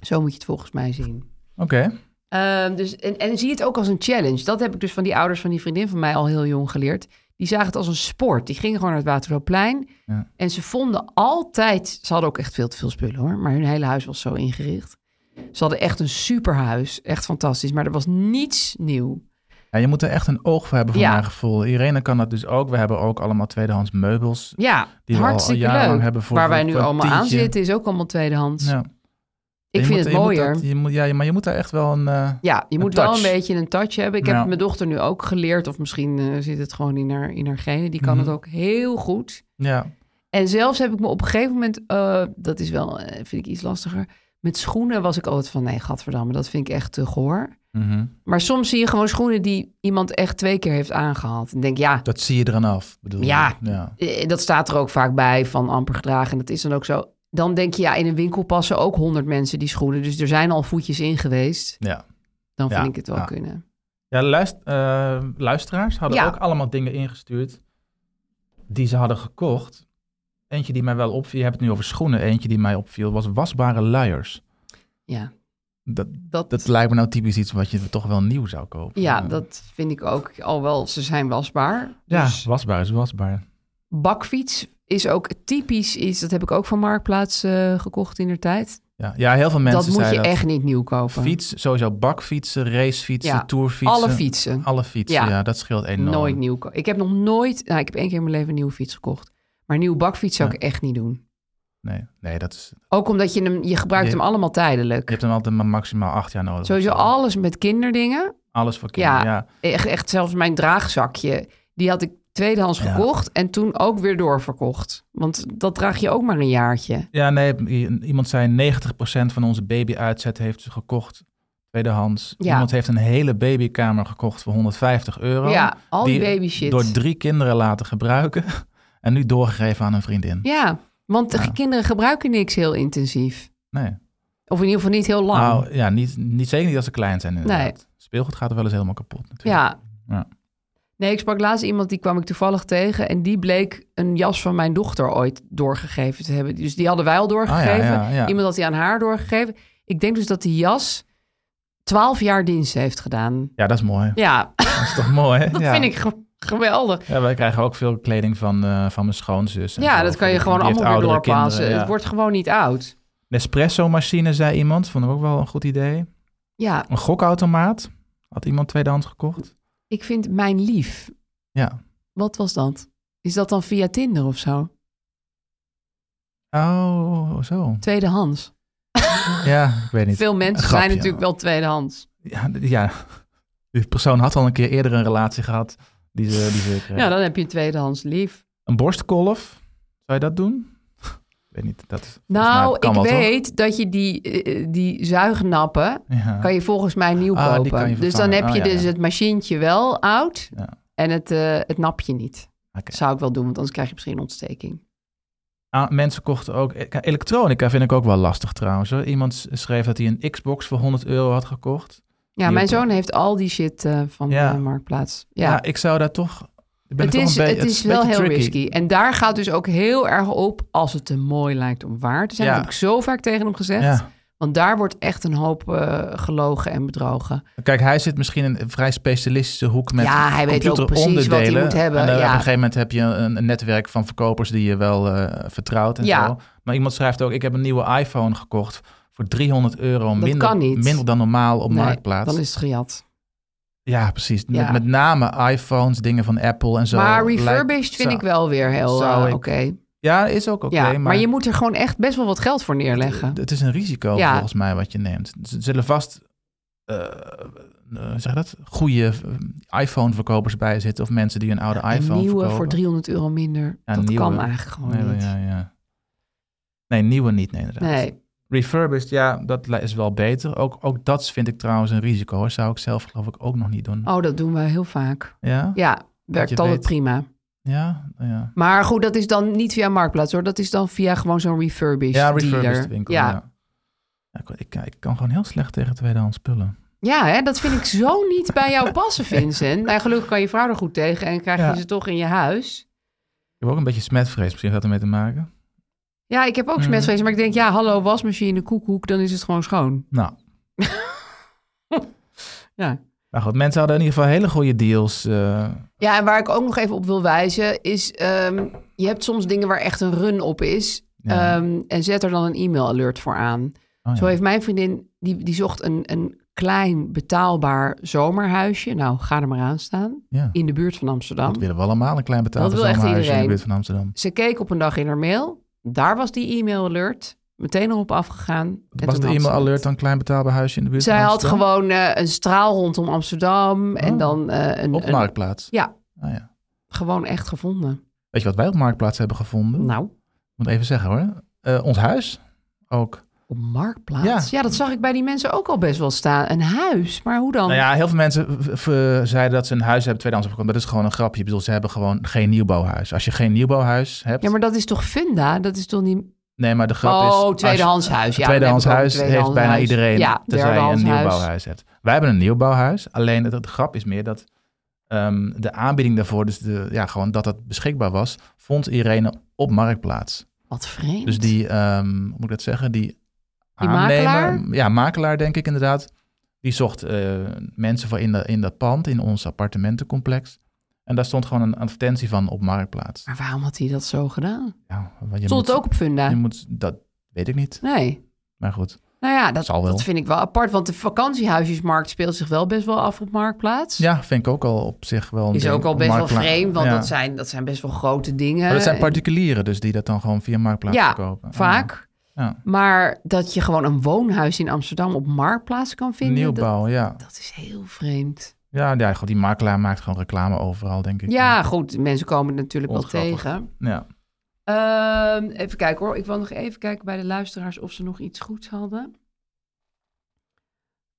Speaker 6: Zo moet je het volgens mij zien.
Speaker 7: Oké.
Speaker 6: Ehm, dus, en, en zie het ook als een challenge. Dat heb ik dus van die ouders van die vriendin van mij al heel jong geleerd. Die zagen het als een sport. Die gingen gewoon naar het Waterloopplein.
Speaker 7: Ja.
Speaker 6: En ze vonden altijd... Ze hadden ook echt veel te veel spullen hoor. Maar hun hele huis was zo ingericht. Ze hadden echt een superhuis. Echt fantastisch. Maar er was niets nieuw.
Speaker 7: Ja, je moet er echt een oog voor hebben, voor
Speaker 6: Ja.
Speaker 7: mijn gevoel. Irene kan dat dus ook. We hebben ook allemaal tweedehands meubels.
Speaker 6: Ja,
Speaker 7: Die we al
Speaker 6: hartstikke
Speaker 7: jarenlang
Speaker 6: leuk.
Speaker 7: hebben voor
Speaker 6: Waar
Speaker 7: een
Speaker 6: wij nu allemaal aan
Speaker 7: kwartiertje.
Speaker 6: zitten is ook allemaal tweedehands.
Speaker 7: Ja.
Speaker 6: Ik
Speaker 7: Je moet-
Speaker 6: vind
Speaker 7: je
Speaker 6: het
Speaker 7: moet
Speaker 6: mooier.
Speaker 7: dat- je moet, ja, maar je moet daar echt wel een... eh,
Speaker 6: Ja, je
Speaker 7: een
Speaker 6: moet wel
Speaker 7: touch.
Speaker 6: een beetje een touch hebben. Ik heb
Speaker 7: Ja.
Speaker 6: het mijn dochter nu ook geleerd, of misschien eh, zit het gewoon in haar, in haar genen. Die kan
Speaker 7: Mhm.
Speaker 6: het ook heel goed.
Speaker 7: Ja,
Speaker 6: En zelfs heb ik me op een gegeven moment, eh, dat is wel, eh, vind ik iets lastiger. Met schoenen was ik altijd van, nee, gadverdamme, dat vind ik echt te goor.
Speaker 7: mhm.
Speaker 6: Maar soms zie je gewoon schoenen die iemand echt twee keer heeft aangehad. En denk, ja,
Speaker 7: dat zie je er aan af. Bedoel je?
Speaker 6: Ja.
Speaker 7: ja.
Speaker 6: eh, dat staat er ook vaak bij, van amper gedragen. En dat is dan ook zo. Dan denk je, ja, in een winkel passen ook honderd mensen die schoenen. Dus er zijn al voetjes in geweest.
Speaker 7: Ja.
Speaker 6: Dan vind
Speaker 7: Ja,
Speaker 6: ik het wel
Speaker 7: ja.
Speaker 6: kunnen.
Speaker 7: Ja, luist- eh, luisteraars hadden
Speaker 6: Ja.
Speaker 7: ook allemaal dingen ingestuurd die ze hadden gekocht. Eentje die mij wel opviel, je hebt het nu over schoenen. Eentje die mij opviel was wasbare luiers.
Speaker 6: Ja,
Speaker 7: Dat,
Speaker 6: dat...
Speaker 7: dat lijkt me nou typisch iets wat je toch wel nieuw zou kopen.
Speaker 6: Ja, dat vind ik ook. Al wel, ze zijn wasbaar.
Speaker 7: Ja,
Speaker 6: Dus
Speaker 7: wasbaar is wasbaar.
Speaker 6: bakfiets is ook typisch iets. Dat heb ik ook van Marktplaats eh, gekocht in de tijd.
Speaker 7: Ja, ja heel veel mensen
Speaker 6: dat moet je
Speaker 7: zeiden
Speaker 6: echt niet nieuw kopen.
Speaker 7: Fiets, sowieso bakfietsen, racefietsen,
Speaker 6: Ja,
Speaker 7: tourfietsen.
Speaker 6: Alle fietsen.
Speaker 7: Alle fietsen, ja.
Speaker 6: Ja.
Speaker 7: dat scheelt enorm.
Speaker 6: Nooit nieuw kopen. Ik heb nog nooit... Nou, ik heb één keer in mijn leven een nieuwe fiets gekocht. Maar een nieuwe bakfiets zou
Speaker 7: Ja.
Speaker 6: ik echt niet doen.
Speaker 7: Nee, nee dat is,
Speaker 6: Ook omdat je hem... Je gebruikt
Speaker 7: Je-
Speaker 6: hem allemaal
Speaker 7: je
Speaker 6: tijdelijk.
Speaker 7: hebt hem altijd maar maximaal acht jaar nodig.
Speaker 6: Sowieso
Speaker 7: of zo.
Speaker 6: alles met kinderdingen.
Speaker 7: Alles voor kinderen, ja.
Speaker 6: Ja. Echt, echt zelfs mijn draagzakje. Die had ik tweedehands
Speaker 7: Ja.
Speaker 6: gekocht en toen ook weer doorverkocht. Want dat draag je ook maar een jaartje.
Speaker 7: Ja, nee, i- iemand zei 90% van onze baby-uitzet heeft ze gekocht tweedehands.
Speaker 6: Ja.
Speaker 7: Iemand heeft een hele babykamer gekocht voor 150 euro.
Speaker 6: Ja, al die,
Speaker 7: Die
Speaker 6: baby shit.
Speaker 7: Door drie kinderen laten gebruiken en nu doorgegeven aan een vriendin.
Speaker 6: Ja, want de
Speaker 7: Ja.
Speaker 6: kinderen gebruiken niks heel intensief.
Speaker 7: Nee.
Speaker 6: Of in ieder geval niet heel lang.
Speaker 7: Nou, ja, niet, niet, zeker niet als ze klein zijn inderdaad. Speelgoed gaat er wel eens helemaal kapot natuurlijk.
Speaker 6: ja.
Speaker 7: Ja.
Speaker 6: Nee, ik sprak laatst iemand, die kwam ik toevallig tegen. En die bleek een jas van mijn dochter ooit doorgegeven te hebben. Dus die hadden wij al doorgegeven.
Speaker 7: Ah, ja, ja, ja.
Speaker 6: Iemand had die aan haar doorgegeven. Ik denk dus dat die jas 12 jaar dienst heeft gedaan.
Speaker 7: Ja, dat is mooi.
Speaker 6: Ja,
Speaker 7: Dat is toch mooi, hè?
Speaker 6: dat
Speaker 7: ja.
Speaker 6: vind ik ge- geweldig.
Speaker 7: Ja, wij krijgen ook veel kleding van, eh, van mijn schoonzus. en
Speaker 6: Ja,
Speaker 7: zo.
Speaker 6: dat kan
Speaker 7: Die-
Speaker 6: je gewoon
Speaker 7: die heeft
Speaker 6: allemaal weer
Speaker 7: oudere kinderen,
Speaker 6: doorpassen.
Speaker 7: ja.
Speaker 6: Het wordt gewoon niet oud.
Speaker 7: Nespresso-machine, zei iemand. Vond ik ook wel een goed idee.
Speaker 6: Ja,
Speaker 7: Een gokautomaat. Had iemand tweedehands gekocht?
Speaker 6: ik vind mijn lief.
Speaker 7: Ja.
Speaker 6: Wat was dat? Is dat dan via Tinder of zo?
Speaker 7: Oh, zo.
Speaker 6: Tweedehands.
Speaker 7: Ja, ik weet niet.
Speaker 6: Veel
Speaker 7: Een
Speaker 6: mensen
Speaker 7: grapje.
Speaker 6: zijn natuurlijk wel tweedehands.
Speaker 7: Ja, d- ja, die persoon had al een keer eerder een relatie gehad die ze, die ze
Speaker 6: Ja.
Speaker 7: kreeg.
Speaker 6: dan heb je een tweedehands lief.
Speaker 7: Een borstkolf. Zou je dat doen? Ik weet niet. Dat is, volgens mij
Speaker 6: Nou,
Speaker 7: kan
Speaker 6: ik
Speaker 7: wel, toch?
Speaker 6: weet dat je die, eh, die zuignappen,
Speaker 7: Ja.
Speaker 6: kan je volgens mij nieuw
Speaker 7: Ah, die
Speaker 6: kopen.
Speaker 7: kan je
Speaker 6: dus dan
Speaker 7: vervangen.
Speaker 6: heb
Speaker 7: Oh,
Speaker 6: je
Speaker 7: ja,
Speaker 6: dus
Speaker 7: ja.
Speaker 6: het machientje wel oud
Speaker 7: Ja.
Speaker 6: en het, eh, het napje niet.
Speaker 7: Oké.
Speaker 6: Zou ik wel doen, want anders krijg je misschien ontsteking.
Speaker 7: Ah, mensen kochten ook... Kijk, Elektronica vind ik ook wel lastig trouwens. hoor. Iemand s- schreef dat hij een Xbox voor 100 euro had gekocht.
Speaker 6: Ja,
Speaker 7: Nieuw
Speaker 6: mijn
Speaker 7: kopen.
Speaker 6: zoon heeft al die shit eh, van
Speaker 7: Ja.
Speaker 6: de marktplaats.
Speaker 7: Ja.
Speaker 6: Ja.
Speaker 7: ik zou daar toch ben
Speaker 6: Het
Speaker 7: ik toch
Speaker 6: is,
Speaker 7: een be-
Speaker 6: het
Speaker 7: het
Speaker 6: is
Speaker 7: is een
Speaker 6: wel heel
Speaker 7: beetje tricky.
Speaker 6: risky. En daar gaat dus ook heel erg op als het te mooi lijkt om waar te zijn.
Speaker 7: Ja.
Speaker 6: Dat heb ik zo vaak tegen hem gezegd.
Speaker 7: Ja.
Speaker 6: Want daar wordt echt een hoop eh, gelogen en bedrogen.
Speaker 7: Kijk, hij zit misschien in een vrij specialistische hoek met
Speaker 6: Ja, hij weet ook precies wat hij
Speaker 7: computeronderdelen.
Speaker 6: moet hebben,
Speaker 7: En dan
Speaker 6: ja.
Speaker 7: op een gegeven moment heb je een, een netwerk van verkopers die je wel eh, vertrouwt en
Speaker 6: Ja.
Speaker 7: zo. Maar iemand schrijft ook, ik heb een nieuwe iPhone gekocht voor 300 euro.
Speaker 6: Dat
Speaker 7: Minder,
Speaker 6: kan niet.
Speaker 7: minder dan normaal op
Speaker 6: Nee,
Speaker 7: Marktplaats.
Speaker 6: Dan is het gejat.
Speaker 7: Ja, precies.
Speaker 6: Ja.
Speaker 7: Met, met name iPhones, dingen van Apple en zo.
Speaker 6: maar
Speaker 7: lijkt-
Speaker 6: refurbished vind
Speaker 7: zou-
Speaker 6: ik wel weer heel
Speaker 7: zou
Speaker 6: eh,
Speaker 7: ik-
Speaker 6: oké.
Speaker 7: Ja, is ook oké.
Speaker 6: ja, maar...
Speaker 7: maar,
Speaker 6: je moet er gewoon echt best wel wat geld voor neerleggen.
Speaker 7: het is een risico
Speaker 6: Ja.
Speaker 7: volgens mij wat je neemt. Z- zullen vast eh, eh, zeg dat, goede eh, iPhone-verkopers bij zitten of mensen die een oude
Speaker 6: Een
Speaker 7: iPhone
Speaker 6: nieuwe
Speaker 7: verkopen.
Speaker 6: voor 300 euro minder.
Speaker 7: Ja,
Speaker 6: dat
Speaker 7: nieuwe-
Speaker 6: kan eigenlijk gewoon
Speaker 7: nee,
Speaker 6: niet.
Speaker 7: Ja, ja. Nee, nieuwe niet, nee, inderdaad.
Speaker 6: Nee.
Speaker 7: Refurbished, ja, dat li- is wel beter. Ook, ook dat vind ik trouwens een risico. hoor. Zou ik zelf geloof ik ook nog niet doen.
Speaker 6: Oh, dat doen we heel vaak.
Speaker 7: Ja?
Speaker 6: Ja, werkt
Speaker 7: je
Speaker 6: altijd
Speaker 7: weet-
Speaker 6: prima.
Speaker 7: Ja, nou ja.
Speaker 6: Maar goed, dat is dan niet via Marktplaats hoor. Dat is dan via gewoon zo'n refurbished,
Speaker 7: Ja, refurbished
Speaker 6: dealer.
Speaker 7: winkel.
Speaker 6: ja.
Speaker 7: Ja. Ja, ik, ik, ik kan gewoon heel slecht tegen tweedehands spullen.
Speaker 6: Ja, hè, dat vind ik zo niet bij jou passen, Vincent. Nou, gelukkig kan je vrouw er goed tegen en krijg
Speaker 7: Ja.
Speaker 6: je ze toch in je huis.
Speaker 7: Ik heb ook een beetje smetvrees, misschien gaat ermee te maken.
Speaker 6: Ja, ik heb ook
Speaker 7: Mm.
Speaker 6: smetvrees, maar ik denk, ja, hallo, wasmachine, koekhoek, dan is het gewoon schoon.
Speaker 7: Nou,
Speaker 6: Ja.
Speaker 7: maar goed, mensen hadden in ieder geval hele goede deals. eh,
Speaker 6: Ja, en waar ik ook nog even op wil wijzen is, ehm, je hebt soms dingen waar echt een run op is.
Speaker 7: Ja. Oh,
Speaker 6: ehm, en zet er dan een e-mail alert voor aan.
Speaker 7: ja.
Speaker 6: Zo heeft mijn vriendin, die, die zocht een, een klein betaalbaar zomerhuisje. Nou, ga er maar aan staan.
Speaker 7: Ja.
Speaker 6: In de buurt van Amsterdam.
Speaker 7: dat willen we allemaal, een klein betaalde
Speaker 6: Dat wil echt
Speaker 7: zomerhuisje in de
Speaker 6: iedereen.
Speaker 7: buurt van Amsterdam.
Speaker 6: Ze keek op een dag in haar mail. Daar was die e-mail alert. Meteen erop afgegaan. En
Speaker 7: Was de
Speaker 6: toen had ze
Speaker 7: e-mail
Speaker 6: het.
Speaker 7: alert dan klein betaalbaar huisje in de buurt
Speaker 6: Zij
Speaker 7: van
Speaker 6: had
Speaker 7: Amsterdam?
Speaker 6: gewoon eh, een straal rondom Amsterdam. En
Speaker 7: Oh.
Speaker 6: dan eh, een...
Speaker 7: Op
Speaker 6: een-
Speaker 7: Marktplaats?
Speaker 6: Ja,
Speaker 7: Ah, ja.
Speaker 6: gewoon echt gevonden.
Speaker 7: Weet je wat wij op Marktplaats hebben gevonden?
Speaker 6: Nou,
Speaker 7: Moet even zeggen hoor. Eh, ons huis ook.
Speaker 6: op Marktplaats. Ja. dat zag ik bij die mensen ook al best wel staan. Een huis, maar hoe dan?
Speaker 7: Nou ja, heel veel mensen v- v- zeiden dat ze een huis hebben tweedehands opgekomen. Dat is gewoon een grapje. Ik bedoel, ze hebben gewoon geen nieuwbouwhuis. Als je geen nieuwbouwhuis hebt...
Speaker 6: Ja, maar dat is toch Funda? Dat is toch niet...
Speaker 7: Nee, maar de grap
Speaker 6: Oh,
Speaker 7: is... als-
Speaker 6: tweedehands huis. Ja,
Speaker 7: een tweedehands
Speaker 6: dan heb ik
Speaker 7: huis
Speaker 6: ook een
Speaker 7: heeft
Speaker 6: tweedehands
Speaker 7: bijna
Speaker 6: huis.
Speaker 7: iedereen,
Speaker 6: Ja,
Speaker 7: tenzij je
Speaker 6: derdehands
Speaker 7: een
Speaker 6: huis.
Speaker 7: nieuwbouwhuis hebt. Wij hebben een nieuwbouwhuis, alleen de, de grap is meer dat ehm, de aanbieding daarvoor, dus de, ja, gewoon dat dat beschikbaar was, vond Irene op Marktplaats.
Speaker 6: Wat vreemd.
Speaker 7: Dus die, ehm, hoe moet ik dat zeggen, die,
Speaker 6: Die
Speaker 7: aannemer,
Speaker 6: makelaar?
Speaker 7: ja, makelaar denk ik inderdaad, die zocht eh, mensen voor in, de, in dat pand, in ons appartementencomplex. En daar stond gewoon een advertentie van op Marktplaats.
Speaker 6: Maar waarom had hij dat zo gedaan?
Speaker 7: Ja, want je
Speaker 6: Stond het
Speaker 7: moet-
Speaker 6: ook op Funda?
Speaker 7: Je moet, dat weet ik niet,
Speaker 6: Nee.
Speaker 7: maar goed.
Speaker 6: Nou ja, dat,
Speaker 7: Zal wel.
Speaker 6: dat vind ik wel apart. Want de vakantiehuisjesmarkt speelt zich wel best wel af op Marktplaats.
Speaker 7: Ja, vind ik ook al op zich wel. een
Speaker 6: Is
Speaker 7: ding.
Speaker 6: ook al best wel
Speaker 7: Marktpla-
Speaker 6: vreemd, want
Speaker 7: Ja.
Speaker 6: dat, zijn, dat zijn best wel grote dingen.
Speaker 7: Maar dat zijn particulieren dus die dat dan gewoon via Marktplaats
Speaker 6: Ja,
Speaker 7: verkopen. Ah, Oh,
Speaker 6: vaak.
Speaker 7: Ja. Ja.
Speaker 6: Maar dat je gewoon een woonhuis in Amsterdam op Marktplaats kan vinden...
Speaker 7: Nieuwbouw, ja.
Speaker 6: Dat, dat is heel vreemd.
Speaker 7: Ja, ja, god, die makelaar maakt gewoon reclame overal, denk ik.
Speaker 6: Ja, goed, mensen komen het natuurlijk wel
Speaker 7: Ongrappig.
Speaker 6: tegen.
Speaker 7: Ja.
Speaker 6: Ehm, even kijken hoor, ik wil nog even kijken bij de luisteraars of ze nog iets goeds hadden.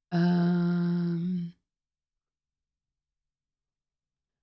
Speaker 6: Ehm,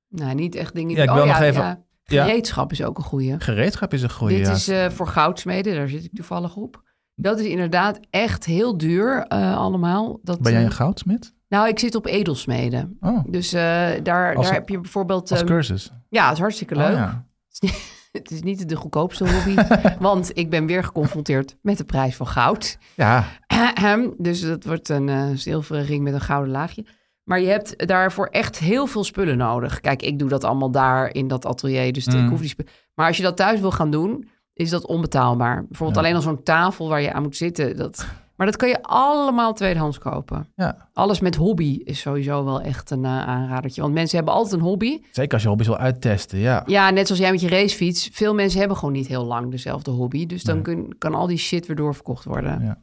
Speaker 6: nou, niet echt dingen...
Speaker 7: Ja, ik
Speaker 6: oh
Speaker 7: wil nog
Speaker 6: ja,
Speaker 7: even-
Speaker 6: ja.
Speaker 7: Ja.
Speaker 6: Gereedschap is ook een goeie.
Speaker 7: Gereedschap is een goede.
Speaker 6: Dit
Speaker 7: ja.
Speaker 6: is eh, voor goudsmeden, daar zit ik toevallig op. Dat is inderdaad echt heel duur eh, allemaal. Dat,
Speaker 7: ben jij een
Speaker 6: eh,
Speaker 7: goudsmid?
Speaker 6: nou, ik zit op edelsmeden.
Speaker 7: Oh,
Speaker 6: Dus eh, daar,
Speaker 7: Als-
Speaker 6: daar heb je bijvoorbeeld...
Speaker 7: als
Speaker 6: eh,
Speaker 7: cursus.
Speaker 6: ja, het is hartstikke
Speaker 7: Oh,
Speaker 6: leuk.
Speaker 7: ja.
Speaker 6: Het is niet de goedkoopste hobby, want ik ben weer geconfronteerd met de prijs van goud.
Speaker 7: ja,
Speaker 6: Ahem, dus dat wordt een eh, zilveren ring met een gouden laagje. Maar je hebt daarvoor echt heel veel spullen nodig. Kijk, ik doe dat allemaal daar in dat atelier, dus
Speaker 7: Mm.
Speaker 6: ik hoef die spullen. Maar als je dat thuis wil gaan doen, is dat onbetaalbaar. Bijvoorbeeld
Speaker 7: Ja.
Speaker 6: alleen al zo'n tafel waar je aan moet zitten. Dat... Maar dat kan je allemaal tweedehands kopen.
Speaker 7: ja,
Speaker 6: Alles met hobby is sowieso wel echt een eh, aanradertje. Want mensen hebben altijd een hobby.
Speaker 7: zeker als je hobby's wil uittesten, ja.
Speaker 6: Ja, net zoals jij met je racefiets. Veel mensen hebben gewoon niet heel lang dezelfde hobby. Dus dan
Speaker 7: Nee.
Speaker 6: kun- kan al die shit weer doorverkocht worden.
Speaker 7: Ja.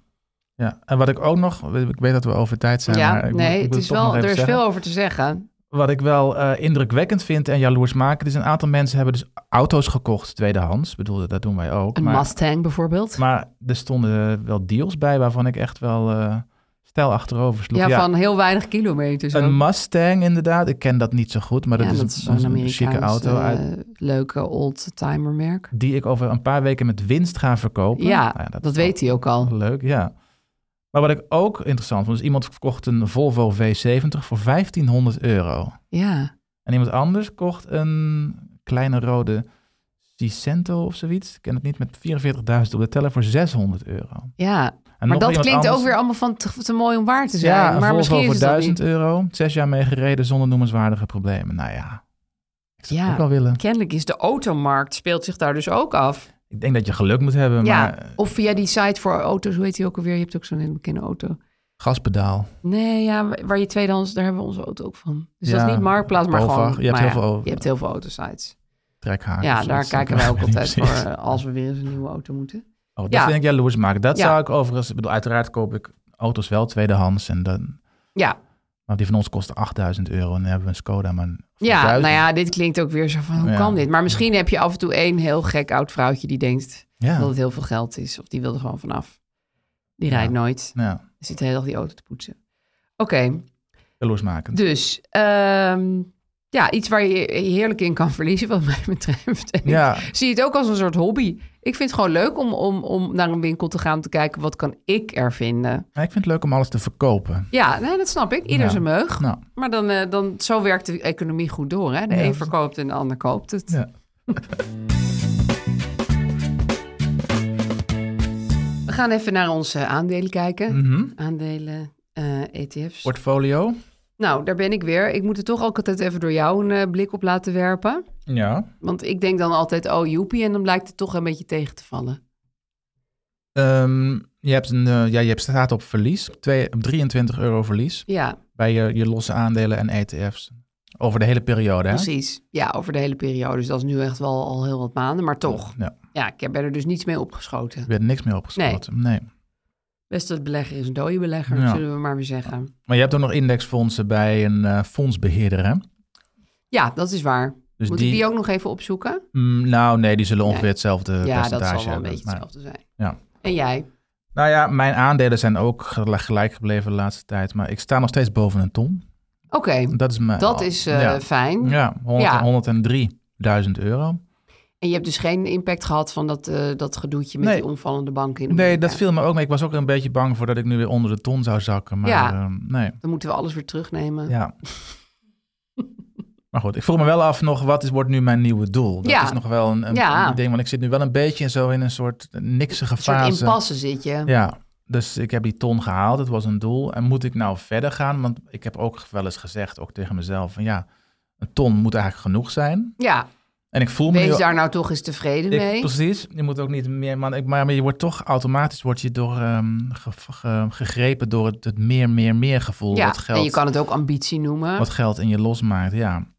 Speaker 7: Ja, en wat ik ook nog, ik weet dat we over tijd
Speaker 6: Ja,
Speaker 7: zijn, maar ik, moet-
Speaker 6: nee,
Speaker 7: ik
Speaker 6: het
Speaker 7: wil
Speaker 6: is
Speaker 7: toch
Speaker 6: wel,
Speaker 7: nog
Speaker 6: er
Speaker 7: even
Speaker 6: is
Speaker 7: zeggen.
Speaker 6: veel over te zeggen.
Speaker 7: Wat ik wel eh, indrukwekkend vind en jaloersmakend is, een aantal mensen hebben dus auto's gekocht tweedehands. Ik bedoel, dat doen wij ook.
Speaker 6: Een
Speaker 7: maar-
Speaker 6: Mustang bijvoorbeeld.
Speaker 7: Maar er stonden wel deals bij waarvan ik echt wel eh stijl achterover sloeg.
Speaker 6: ja, van heel weinig kilometers. ook.
Speaker 7: een Mustang inderdaad. Ik ken dat niet zo goed, maar dat
Speaker 6: ja,
Speaker 7: is, een,
Speaker 6: zo'n
Speaker 7: een chique
Speaker 6: Amerikaans,
Speaker 7: auto. uit,
Speaker 6: eh, leuke old-timer merk.
Speaker 7: die ik over een paar weken met winst ga verkopen.
Speaker 6: Ja,
Speaker 7: Nou
Speaker 6: dat,
Speaker 7: is
Speaker 6: weet hij ook al.
Speaker 7: wel Leuk, ja. Maar wat ik ook interessant vond, is iemand verkocht een Volvo V70 voor 1500 euro.
Speaker 6: Ja,
Speaker 7: En iemand anders kocht een kleine rode Cicento of zoiets. Ik ken het niet, met 44.000 op de teller voor 600 euro.
Speaker 6: Ja,
Speaker 7: En
Speaker 6: maar
Speaker 7: nog
Speaker 6: dat
Speaker 7: iemand
Speaker 6: klinkt
Speaker 7: anders-
Speaker 6: ook weer allemaal van te, te mooi om waar te zijn.
Speaker 7: Ja, een
Speaker 6: maar
Speaker 7: Volvo
Speaker 6: misschien
Speaker 7: voor
Speaker 6: is het dat
Speaker 7: 1000
Speaker 6: niet.
Speaker 7: euro. Zes jaar mee gereden zonder noemenswaardige problemen. Nou ja, ik zou het ook wel willen.
Speaker 6: Kennelijk is de automarkt, speelt zich daar dus ook af.
Speaker 7: Ik denk dat je geluk moet hebben, maar eh,
Speaker 6: ja, of via die site voor auto's, hoe heet die ook alweer? Je hebt ook zo'n hele bekende auto.
Speaker 7: gaspedaal.
Speaker 6: Nee, ja, waar je tweedehands, daar hebben we onze auto ook van. Dus dat
Speaker 7: Ja,
Speaker 6: is niet marktplaats, maar
Speaker 7: Polvar.
Speaker 6: gewoon.
Speaker 7: Je hebt
Speaker 6: maar
Speaker 7: heel
Speaker 6: ja,
Speaker 7: veel over- Ah,
Speaker 6: je hebt heel veel autosites.
Speaker 7: trekhaak.
Speaker 6: Ja,
Speaker 7: of
Speaker 6: daar
Speaker 7: zoiets.
Speaker 6: kijken
Speaker 7: Ik
Speaker 6: wij
Speaker 7: weet
Speaker 6: ook
Speaker 7: niet
Speaker 6: altijd voor
Speaker 7: precies.
Speaker 6: eh, als we weer eens een nieuwe auto moeten.
Speaker 7: Oh, dat
Speaker 6: Ja.
Speaker 7: vind ik jaloers maken. Dat
Speaker 6: Ja.
Speaker 7: zou ik overigens... Ik bedoel, uiteraard koop ik auto's wel tweedehands. En dan,
Speaker 6: Ja,
Speaker 7: maar die van ons kosten 8000 euro. En dan hebben we een Skoda. Maar een-
Speaker 6: ja
Speaker 7: duizend.
Speaker 6: nou ja, dit klinkt ook weer zo van, hoe
Speaker 7: Ja.
Speaker 6: kan dit? Maar misschien heb je af en toe één heel gek oud vrouwtje die denkt
Speaker 7: Ja.
Speaker 6: dat het heel veel geld is. Of die wil er gewoon vanaf. Die
Speaker 7: Ja.
Speaker 6: rijdt nooit.
Speaker 7: nou, ja,
Speaker 6: Die zit de hele dag die auto te poetsen. Oké,
Speaker 7: jaloers maken.
Speaker 6: dus ehm, ja, iets waar je je heerlijk in kan verliezen, wat mij betreft. En ik
Speaker 7: Ja.
Speaker 6: Zie het ook als een soort hobby. Ik vind het gewoon leuk om, om, om naar een winkel te gaan om te kijken wat kan ik er vinden.
Speaker 7: Maar ik vind het leuk om alles te verkopen.
Speaker 6: Ja, nee, dat snap ik. Ieder
Speaker 7: Ja.
Speaker 6: zijn meug.
Speaker 7: Nou,
Speaker 6: Maar dan, eh, dan, zo werkt de economie goed door. Hè? De
Speaker 7: Ja.
Speaker 6: een verkoopt en de ander koopt het.
Speaker 7: Ja.
Speaker 6: We gaan even naar onze aandelen kijken.
Speaker 7: Mhm.
Speaker 6: Aandelen, eh, ETF's.
Speaker 7: portfolio.
Speaker 6: Nou, daar ben ik weer. Ik moet er toch ook altijd even door jou een eh, blik op laten werpen.
Speaker 7: Ja.
Speaker 6: Want ik denk dan altijd, oh joepie, en dan blijkt het toch een beetje tegen te vallen.
Speaker 7: Ehm, je, hebt een, eh, ja, je hebt staat op verlies. Twee, op 23 euro verlies.
Speaker 6: Ja,
Speaker 7: Bij je, je losse aandelen en ETF's. Over de hele periode, hè?
Speaker 6: precies. Ja, over de hele periode. Dus dat is nu echt wel al heel wat maanden, maar toch.
Speaker 7: Ja,
Speaker 6: Ja, ik ben er dus niets mee opgeschoten.
Speaker 7: er werd niks meer opgeschoten. Nee.
Speaker 6: Beste belegger is een dode belegger,
Speaker 7: Ja.
Speaker 6: zullen we maar weer zeggen.
Speaker 7: Maar je hebt ook nog indexfondsen bij een eh, fondsbeheerder, hè?
Speaker 6: Ja, dat is waar.
Speaker 7: Dus
Speaker 6: Moet
Speaker 7: die,
Speaker 6: ik die ook nog even opzoeken?
Speaker 7: Mm, nou, nee, die zullen ongeveer
Speaker 6: Nee.
Speaker 7: hetzelfde
Speaker 6: ja,
Speaker 7: percentage
Speaker 6: dat zal wel een
Speaker 7: hebben,
Speaker 6: beetje
Speaker 7: maar-
Speaker 6: hetzelfde zijn.
Speaker 7: Ja.
Speaker 6: En jij?
Speaker 7: Nou ja, mijn aandelen zijn ook gel- gelijk gebleven de laatste tijd. Maar ik sta nog steeds boven een ton.
Speaker 6: Oké,
Speaker 7: Dat is mijn...
Speaker 6: dat is eh,
Speaker 7: ja.
Speaker 6: fijn.
Speaker 7: Ja, 100
Speaker 6: Ja.
Speaker 7: 103.000 euro.
Speaker 6: En je hebt dus geen impact gehad van dat, eh, dat gedoetje met
Speaker 7: Nee.
Speaker 6: die omvallende bank in
Speaker 7: Nee,
Speaker 6: Amerika.
Speaker 7: dat viel me ook mee. Ik was ook een beetje bang voor dat ik nu weer onder de ton zou zakken. Maar
Speaker 6: Ja.
Speaker 7: ehm, nee,
Speaker 6: Dan moeten we alles weer terugnemen.
Speaker 7: ja. maar goed, ik vroeg me wel af nog, wat is, wordt nu mijn nieuwe doel? Dat
Speaker 6: Ja.
Speaker 7: is nog wel een, een
Speaker 6: Ja.
Speaker 7: ding, want ik zit nu wel een beetje zo in een soort niksige
Speaker 6: Een soort
Speaker 7: fase.
Speaker 6: impasse zit je.
Speaker 7: Ja, dus ik heb die ton gehaald. Het was een doel. En moet ik nou verder gaan? Want ik heb ook wel eens gezegd, ook tegen mezelf, van ja, een ton moet eigenlijk genoeg zijn.
Speaker 6: Ja,
Speaker 7: En ik voel me nu-
Speaker 6: wees daar nou toch eens tevreden
Speaker 7: ik-
Speaker 6: mee.
Speaker 7: Precies. Je moet ook niet meer, maar, ik- maar je wordt toch automatisch wordt je door, ehm, ge- ge- gegrepen door het, het meer, meer, meer gevoel.
Speaker 6: ja,
Speaker 7: wat geld,
Speaker 6: en je kan het ook ambitie noemen.
Speaker 7: wat geld in je losmaakt, ja.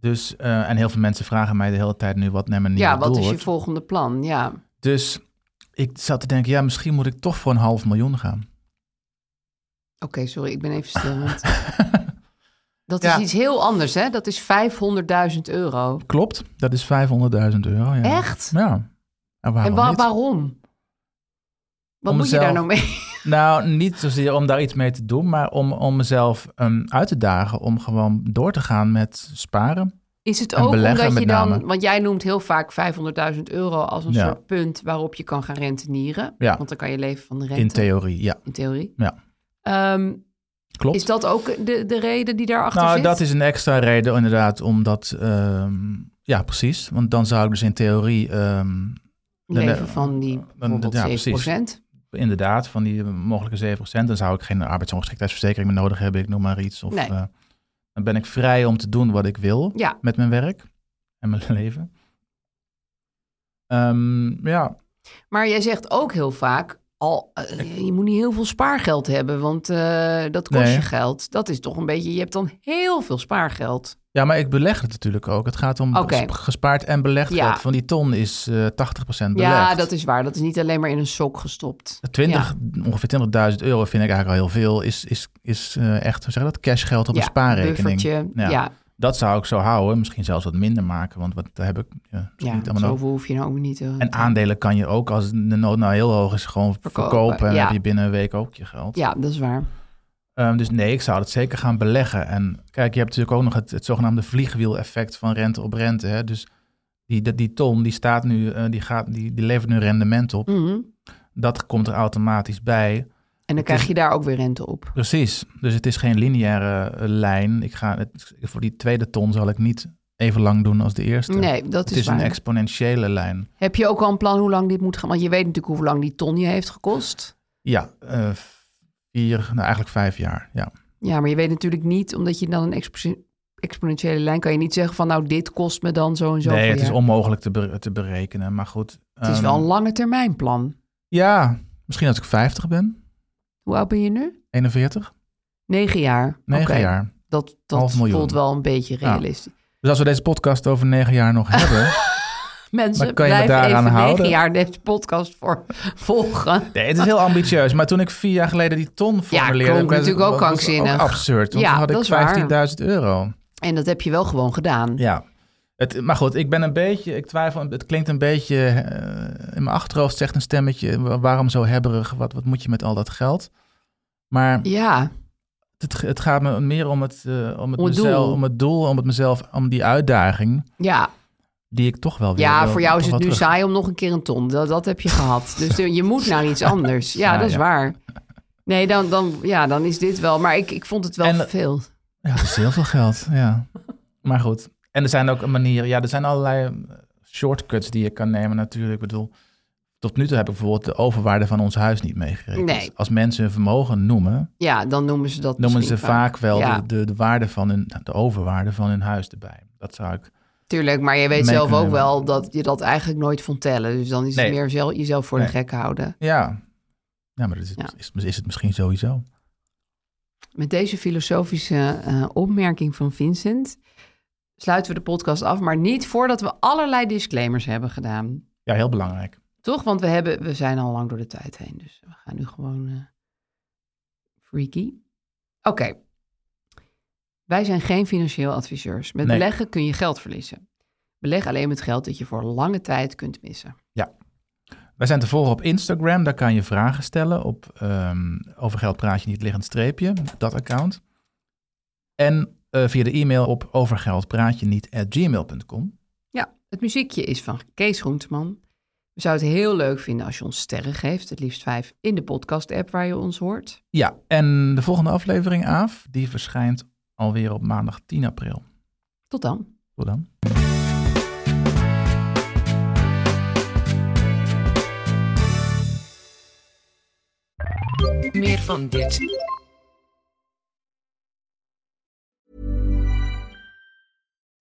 Speaker 7: Dus, eh, en heel veel mensen vragen mij de hele tijd nu wat naar mijn nieuwe
Speaker 6: ja, wat
Speaker 7: doel
Speaker 6: is je
Speaker 7: wordt.
Speaker 6: volgende plan? Ja.
Speaker 7: Dus ik zat te denken, ja, misschien moet ik toch voor een half miljoen gaan.
Speaker 6: Oké, sorry, ik ben even stil. want dat
Speaker 7: Ja.
Speaker 6: is iets heel anders, hè? Dat is 500.000 euro.
Speaker 7: Klopt, dat is 500.000 euro. Ja.
Speaker 6: Echt?
Speaker 7: Ja. En waarom
Speaker 6: en wa-
Speaker 7: niet?
Speaker 6: waarom? Wat
Speaker 7: Om
Speaker 6: moet je daar nou
Speaker 7: mezelf-
Speaker 6: mee?
Speaker 7: Nou, niet zozeer om daar iets mee te doen, maar om, om mezelf ehm, uit te dagen om gewoon door te gaan met sparen.
Speaker 6: Is het
Speaker 7: En
Speaker 6: ook
Speaker 7: beleggen
Speaker 6: omdat je
Speaker 7: met
Speaker 6: dan...
Speaker 7: name.
Speaker 6: Want jij noemt heel vaak 500.000 euro als een
Speaker 7: Ja.
Speaker 6: soort punt waarop je kan gaan rentenieren.
Speaker 7: Ja.
Speaker 6: Want dan kan je leven van de rente.
Speaker 7: In theorie, ja.
Speaker 6: in theorie.
Speaker 7: Ja.
Speaker 6: Ehm,
Speaker 7: Klopt.
Speaker 6: is dat ook de, de reden die daarachter
Speaker 7: nou,
Speaker 6: zit?
Speaker 7: dat is een extra reden inderdaad, omdat... ehm, ja, precies. Want dan zou ik dus in theorie... ehm, dan-
Speaker 6: leven van die bijvoorbeeld
Speaker 7: ja,
Speaker 6: 7%.
Speaker 7: precies. Inderdaad, van die eh, mogelijke 7%. Dan zou ik geen arbeidsongeschiktheidsverzekering meer nodig hebben, ik noem maar iets. Of,
Speaker 6: Nee.
Speaker 7: eh, dan ben ik vrij om te doen wat ik wil
Speaker 6: Ja.
Speaker 7: met mijn werk en mijn leven. Ehm, ja,
Speaker 6: Maar jij zegt ook heel vaak, al, eh, je moet niet heel veel spaargeld hebben, want eh, dat kost
Speaker 7: Nee.
Speaker 6: je geld. Dat is toch een beetje, je hebt dan heel veel spaargeld.
Speaker 7: Ja, maar ik beleg het natuurlijk ook. Het gaat om
Speaker 6: Oké.
Speaker 7: gesp- gespaard en belegd
Speaker 6: Ja.
Speaker 7: geld. Van die ton is eh 80% belegd.
Speaker 6: Ja, dat is waar. Dat is niet alleen maar in een sok gestopt.
Speaker 7: 20, Ongeveer 20.000 euro vind ik eigenlijk al heel veel. Is, is, is eh, echt, hoe zeg je dat, cashgeld op
Speaker 6: Ja,
Speaker 7: een spaarrekening.
Speaker 6: buffertje, ja.
Speaker 7: Dat zou ik zo houden. Misschien zelfs wat minder maken. Want wat daar heb ik ja, zo
Speaker 6: Ja,
Speaker 7: niet allemaal
Speaker 6: zoveel
Speaker 7: nodig.
Speaker 6: hoef je nou ook niet te...
Speaker 7: En aandelen kan je ook, als de nood nou heel hoog is, gewoon verkopen.
Speaker 6: Verkopen,
Speaker 7: en dan
Speaker 6: ja.
Speaker 7: heb je binnen een week ook je geld.
Speaker 6: Ja, dat is waar.
Speaker 7: Ehm, dus nee, ik zou dat zeker gaan beleggen. En kijk, je hebt natuurlijk ook nog het, het zogenaamde vliegwiel-effect van rente op rente. Hè? Dus die, die, die ton die staat nu, eh, die, gaat, die, die levert nu rendement op.
Speaker 6: Mhm.
Speaker 7: Dat komt er automatisch bij.
Speaker 6: En dan krijg je daar ook weer rente op.
Speaker 7: Precies. Dus het is geen lineaire eh, lijn. Ik ga het, voor die tweede ton zal ik niet even lang doen als de eerste.
Speaker 6: Nee, dat
Speaker 7: het
Speaker 6: is
Speaker 7: is een
Speaker 6: waar.
Speaker 7: exponentiële lijn.
Speaker 6: Heb je ook al een plan hoe lang dit moet gaan? Want je weet natuurlijk hoe lang die ton je heeft gekost.
Speaker 7: Ja, eh, vier, nou eigenlijk vijf jaar. Ja.
Speaker 6: Ja, maar je weet natuurlijk niet, omdat je dan een expo- exponentiële lijn... kan je niet zeggen van nou, dit kost me dan zo en zo
Speaker 7: nee, het is onmogelijk te, bere- te berekenen. Maar goed.
Speaker 6: Het is
Speaker 7: ehm,
Speaker 6: wel een lange termijn plan.
Speaker 7: Ja, misschien als ik 50 ben,
Speaker 6: Hoe oud ben je nu?
Speaker 7: 41.
Speaker 6: Negen jaar.
Speaker 7: Negen
Speaker 6: Oké.
Speaker 7: jaar.
Speaker 6: Dat, dat
Speaker 7: Half miljoen.
Speaker 6: voelt wel een beetje
Speaker 7: Ja.
Speaker 6: realistisch.
Speaker 7: Dus als we deze podcast over negen jaar nog hebben.
Speaker 6: Mensen,
Speaker 7: Maar kan je me
Speaker 6: blijven
Speaker 7: daaraan
Speaker 6: even
Speaker 7: houden?
Speaker 6: negen jaar deze podcast voor volgen.
Speaker 7: Nee, het is heel ambitieus. Maar toen ik vier jaar geleden die ton formuleerde...
Speaker 6: klonk
Speaker 7: was-
Speaker 6: natuurlijk ook
Speaker 7: was het
Speaker 6: krankzinnig.
Speaker 7: Ook absurd, want
Speaker 6: Ja,
Speaker 7: toen
Speaker 6: dat
Speaker 7: had
Speaker 6: is waar.
Speaker 7: ik 15.000 euro.
Speaker 6: En dat heb je wel gewoon gedaan.
Speaker 7: Ja. Het, maar goed, ik ben een beetje, ik twijfel, het klinkt een beetje, eh, in mijn achterhoofd zegt een stemmetje, wa- waarom zo hebberig, wat, wat moet je met al dat geld? Maar
Speaker 6: Ja,
Speaker 7: het, het gaat me meer om het, eh, om, het
Speaker 6: Om het doel.
Speaker 7: mezelf, om het doel, om het mezelf, om die uitdaging,
Speaker 6: ja.
Speaker 7: die ik toch wel weer
Speaker 6: ja
Speaker 7: wil-
Speaker 6: voor jou is
Speaker 7: toch
Speaker 6: het nu
Speaker 7: wel terug-
Speaker 6: saai om nog een keer een ton. Dat, dat heb je gehad. Dus je moet naar iets anders. Ja,
Speaker 7: Ja,
Speaker 6: dat is
Speaker 7: ja.
Speaker 6: waar. Nee, dan, dan, ja, dan is dit wel. Maar ik, ik vond het wel
Speaker 7: En-
Speaker 6: veel.
Speaker 7: Ja, dat is heel veel geld, ja. Maar goed. En er zijn ook manieren, ja, er zijn allerlei eh, shortcuts die je kan nemen natuurlijk. Ik bedoel, tot nu toe heb ik bijvoorbeeld de overwaarde van ons huis niet meegerekend.
Speaker 6: Nee.
Speaker 7: Als mensen hun vermogen noemen,
Speaker 6: Ja, dan noemen ze dat
Speaker 7: noemen ze
Speaker 6: misschien
Speaker 7: vaak wel
Speaker 6: Ja,
Speaker 7: de, de, de waarde van hun, de overwaarde van hun huis erbij. Dat zou ik...
Speaker 6: tuurlijk. Maar je weet
Speaker 7: mee
Speaker 6: zelf
Speaker 7: kunnen
Speaker 6: ook
Speaker 7: nemen.
Speaker 6: wel dat je dat eigenlijk nooit vond tellen. Dus dan is het
Speaker 7: Nee.
Speaker 6: meer zelf, jezelf voor de
Speaker 7: Nee.
Speaker 6: gek houden.
Speaker 7: Ja, ja maar dat is,
Speaker 6: Ja.
Speaker 7: Is, is het misschien sowieso.
Speaker 6: Met deze filosofische eh, opmerking van Vincent sluiten we de podcast af. Maar niet voordat we allerlei disclaimers hebben gedaan.
Speaker 7: Ja, heel belangrijk.
Speaker 6: Toch? Want we, hebben, we zijn al lang door de tijd heen. Dus we gaan nu gewoon eh, freaky. Oké. Wij zijn geen financieel adviseurs. Met
Speaker 7: Nee.
Speaker 6: beleggen kun je geld verliezen. Beleg alleen met geld dat je voor lange tijd kunt missen.
Speaker 7: Wij zijn te volgen op Instagram. Daar kan je vragen stellen op ehm over geld praat je niet liggend streepje, dat account. En eh, via de e-mail op overgeldpraatje niet at gmail.com.
Speaker 6: Ja, het muziekje is van Kees Groenteman. We zouden het heel leuk vinden als je ons sterren geeft. Het liefst vijf in de podcast-app waar je ons hoort.
Speaker 7: Ja, en de volgende aflevering, Aaf, die verschijnt alweer op maandag 10 april.
Speaker 6: Tot dan.
Speaker 7: Tot dan.
Speaker 8: Meer van dit.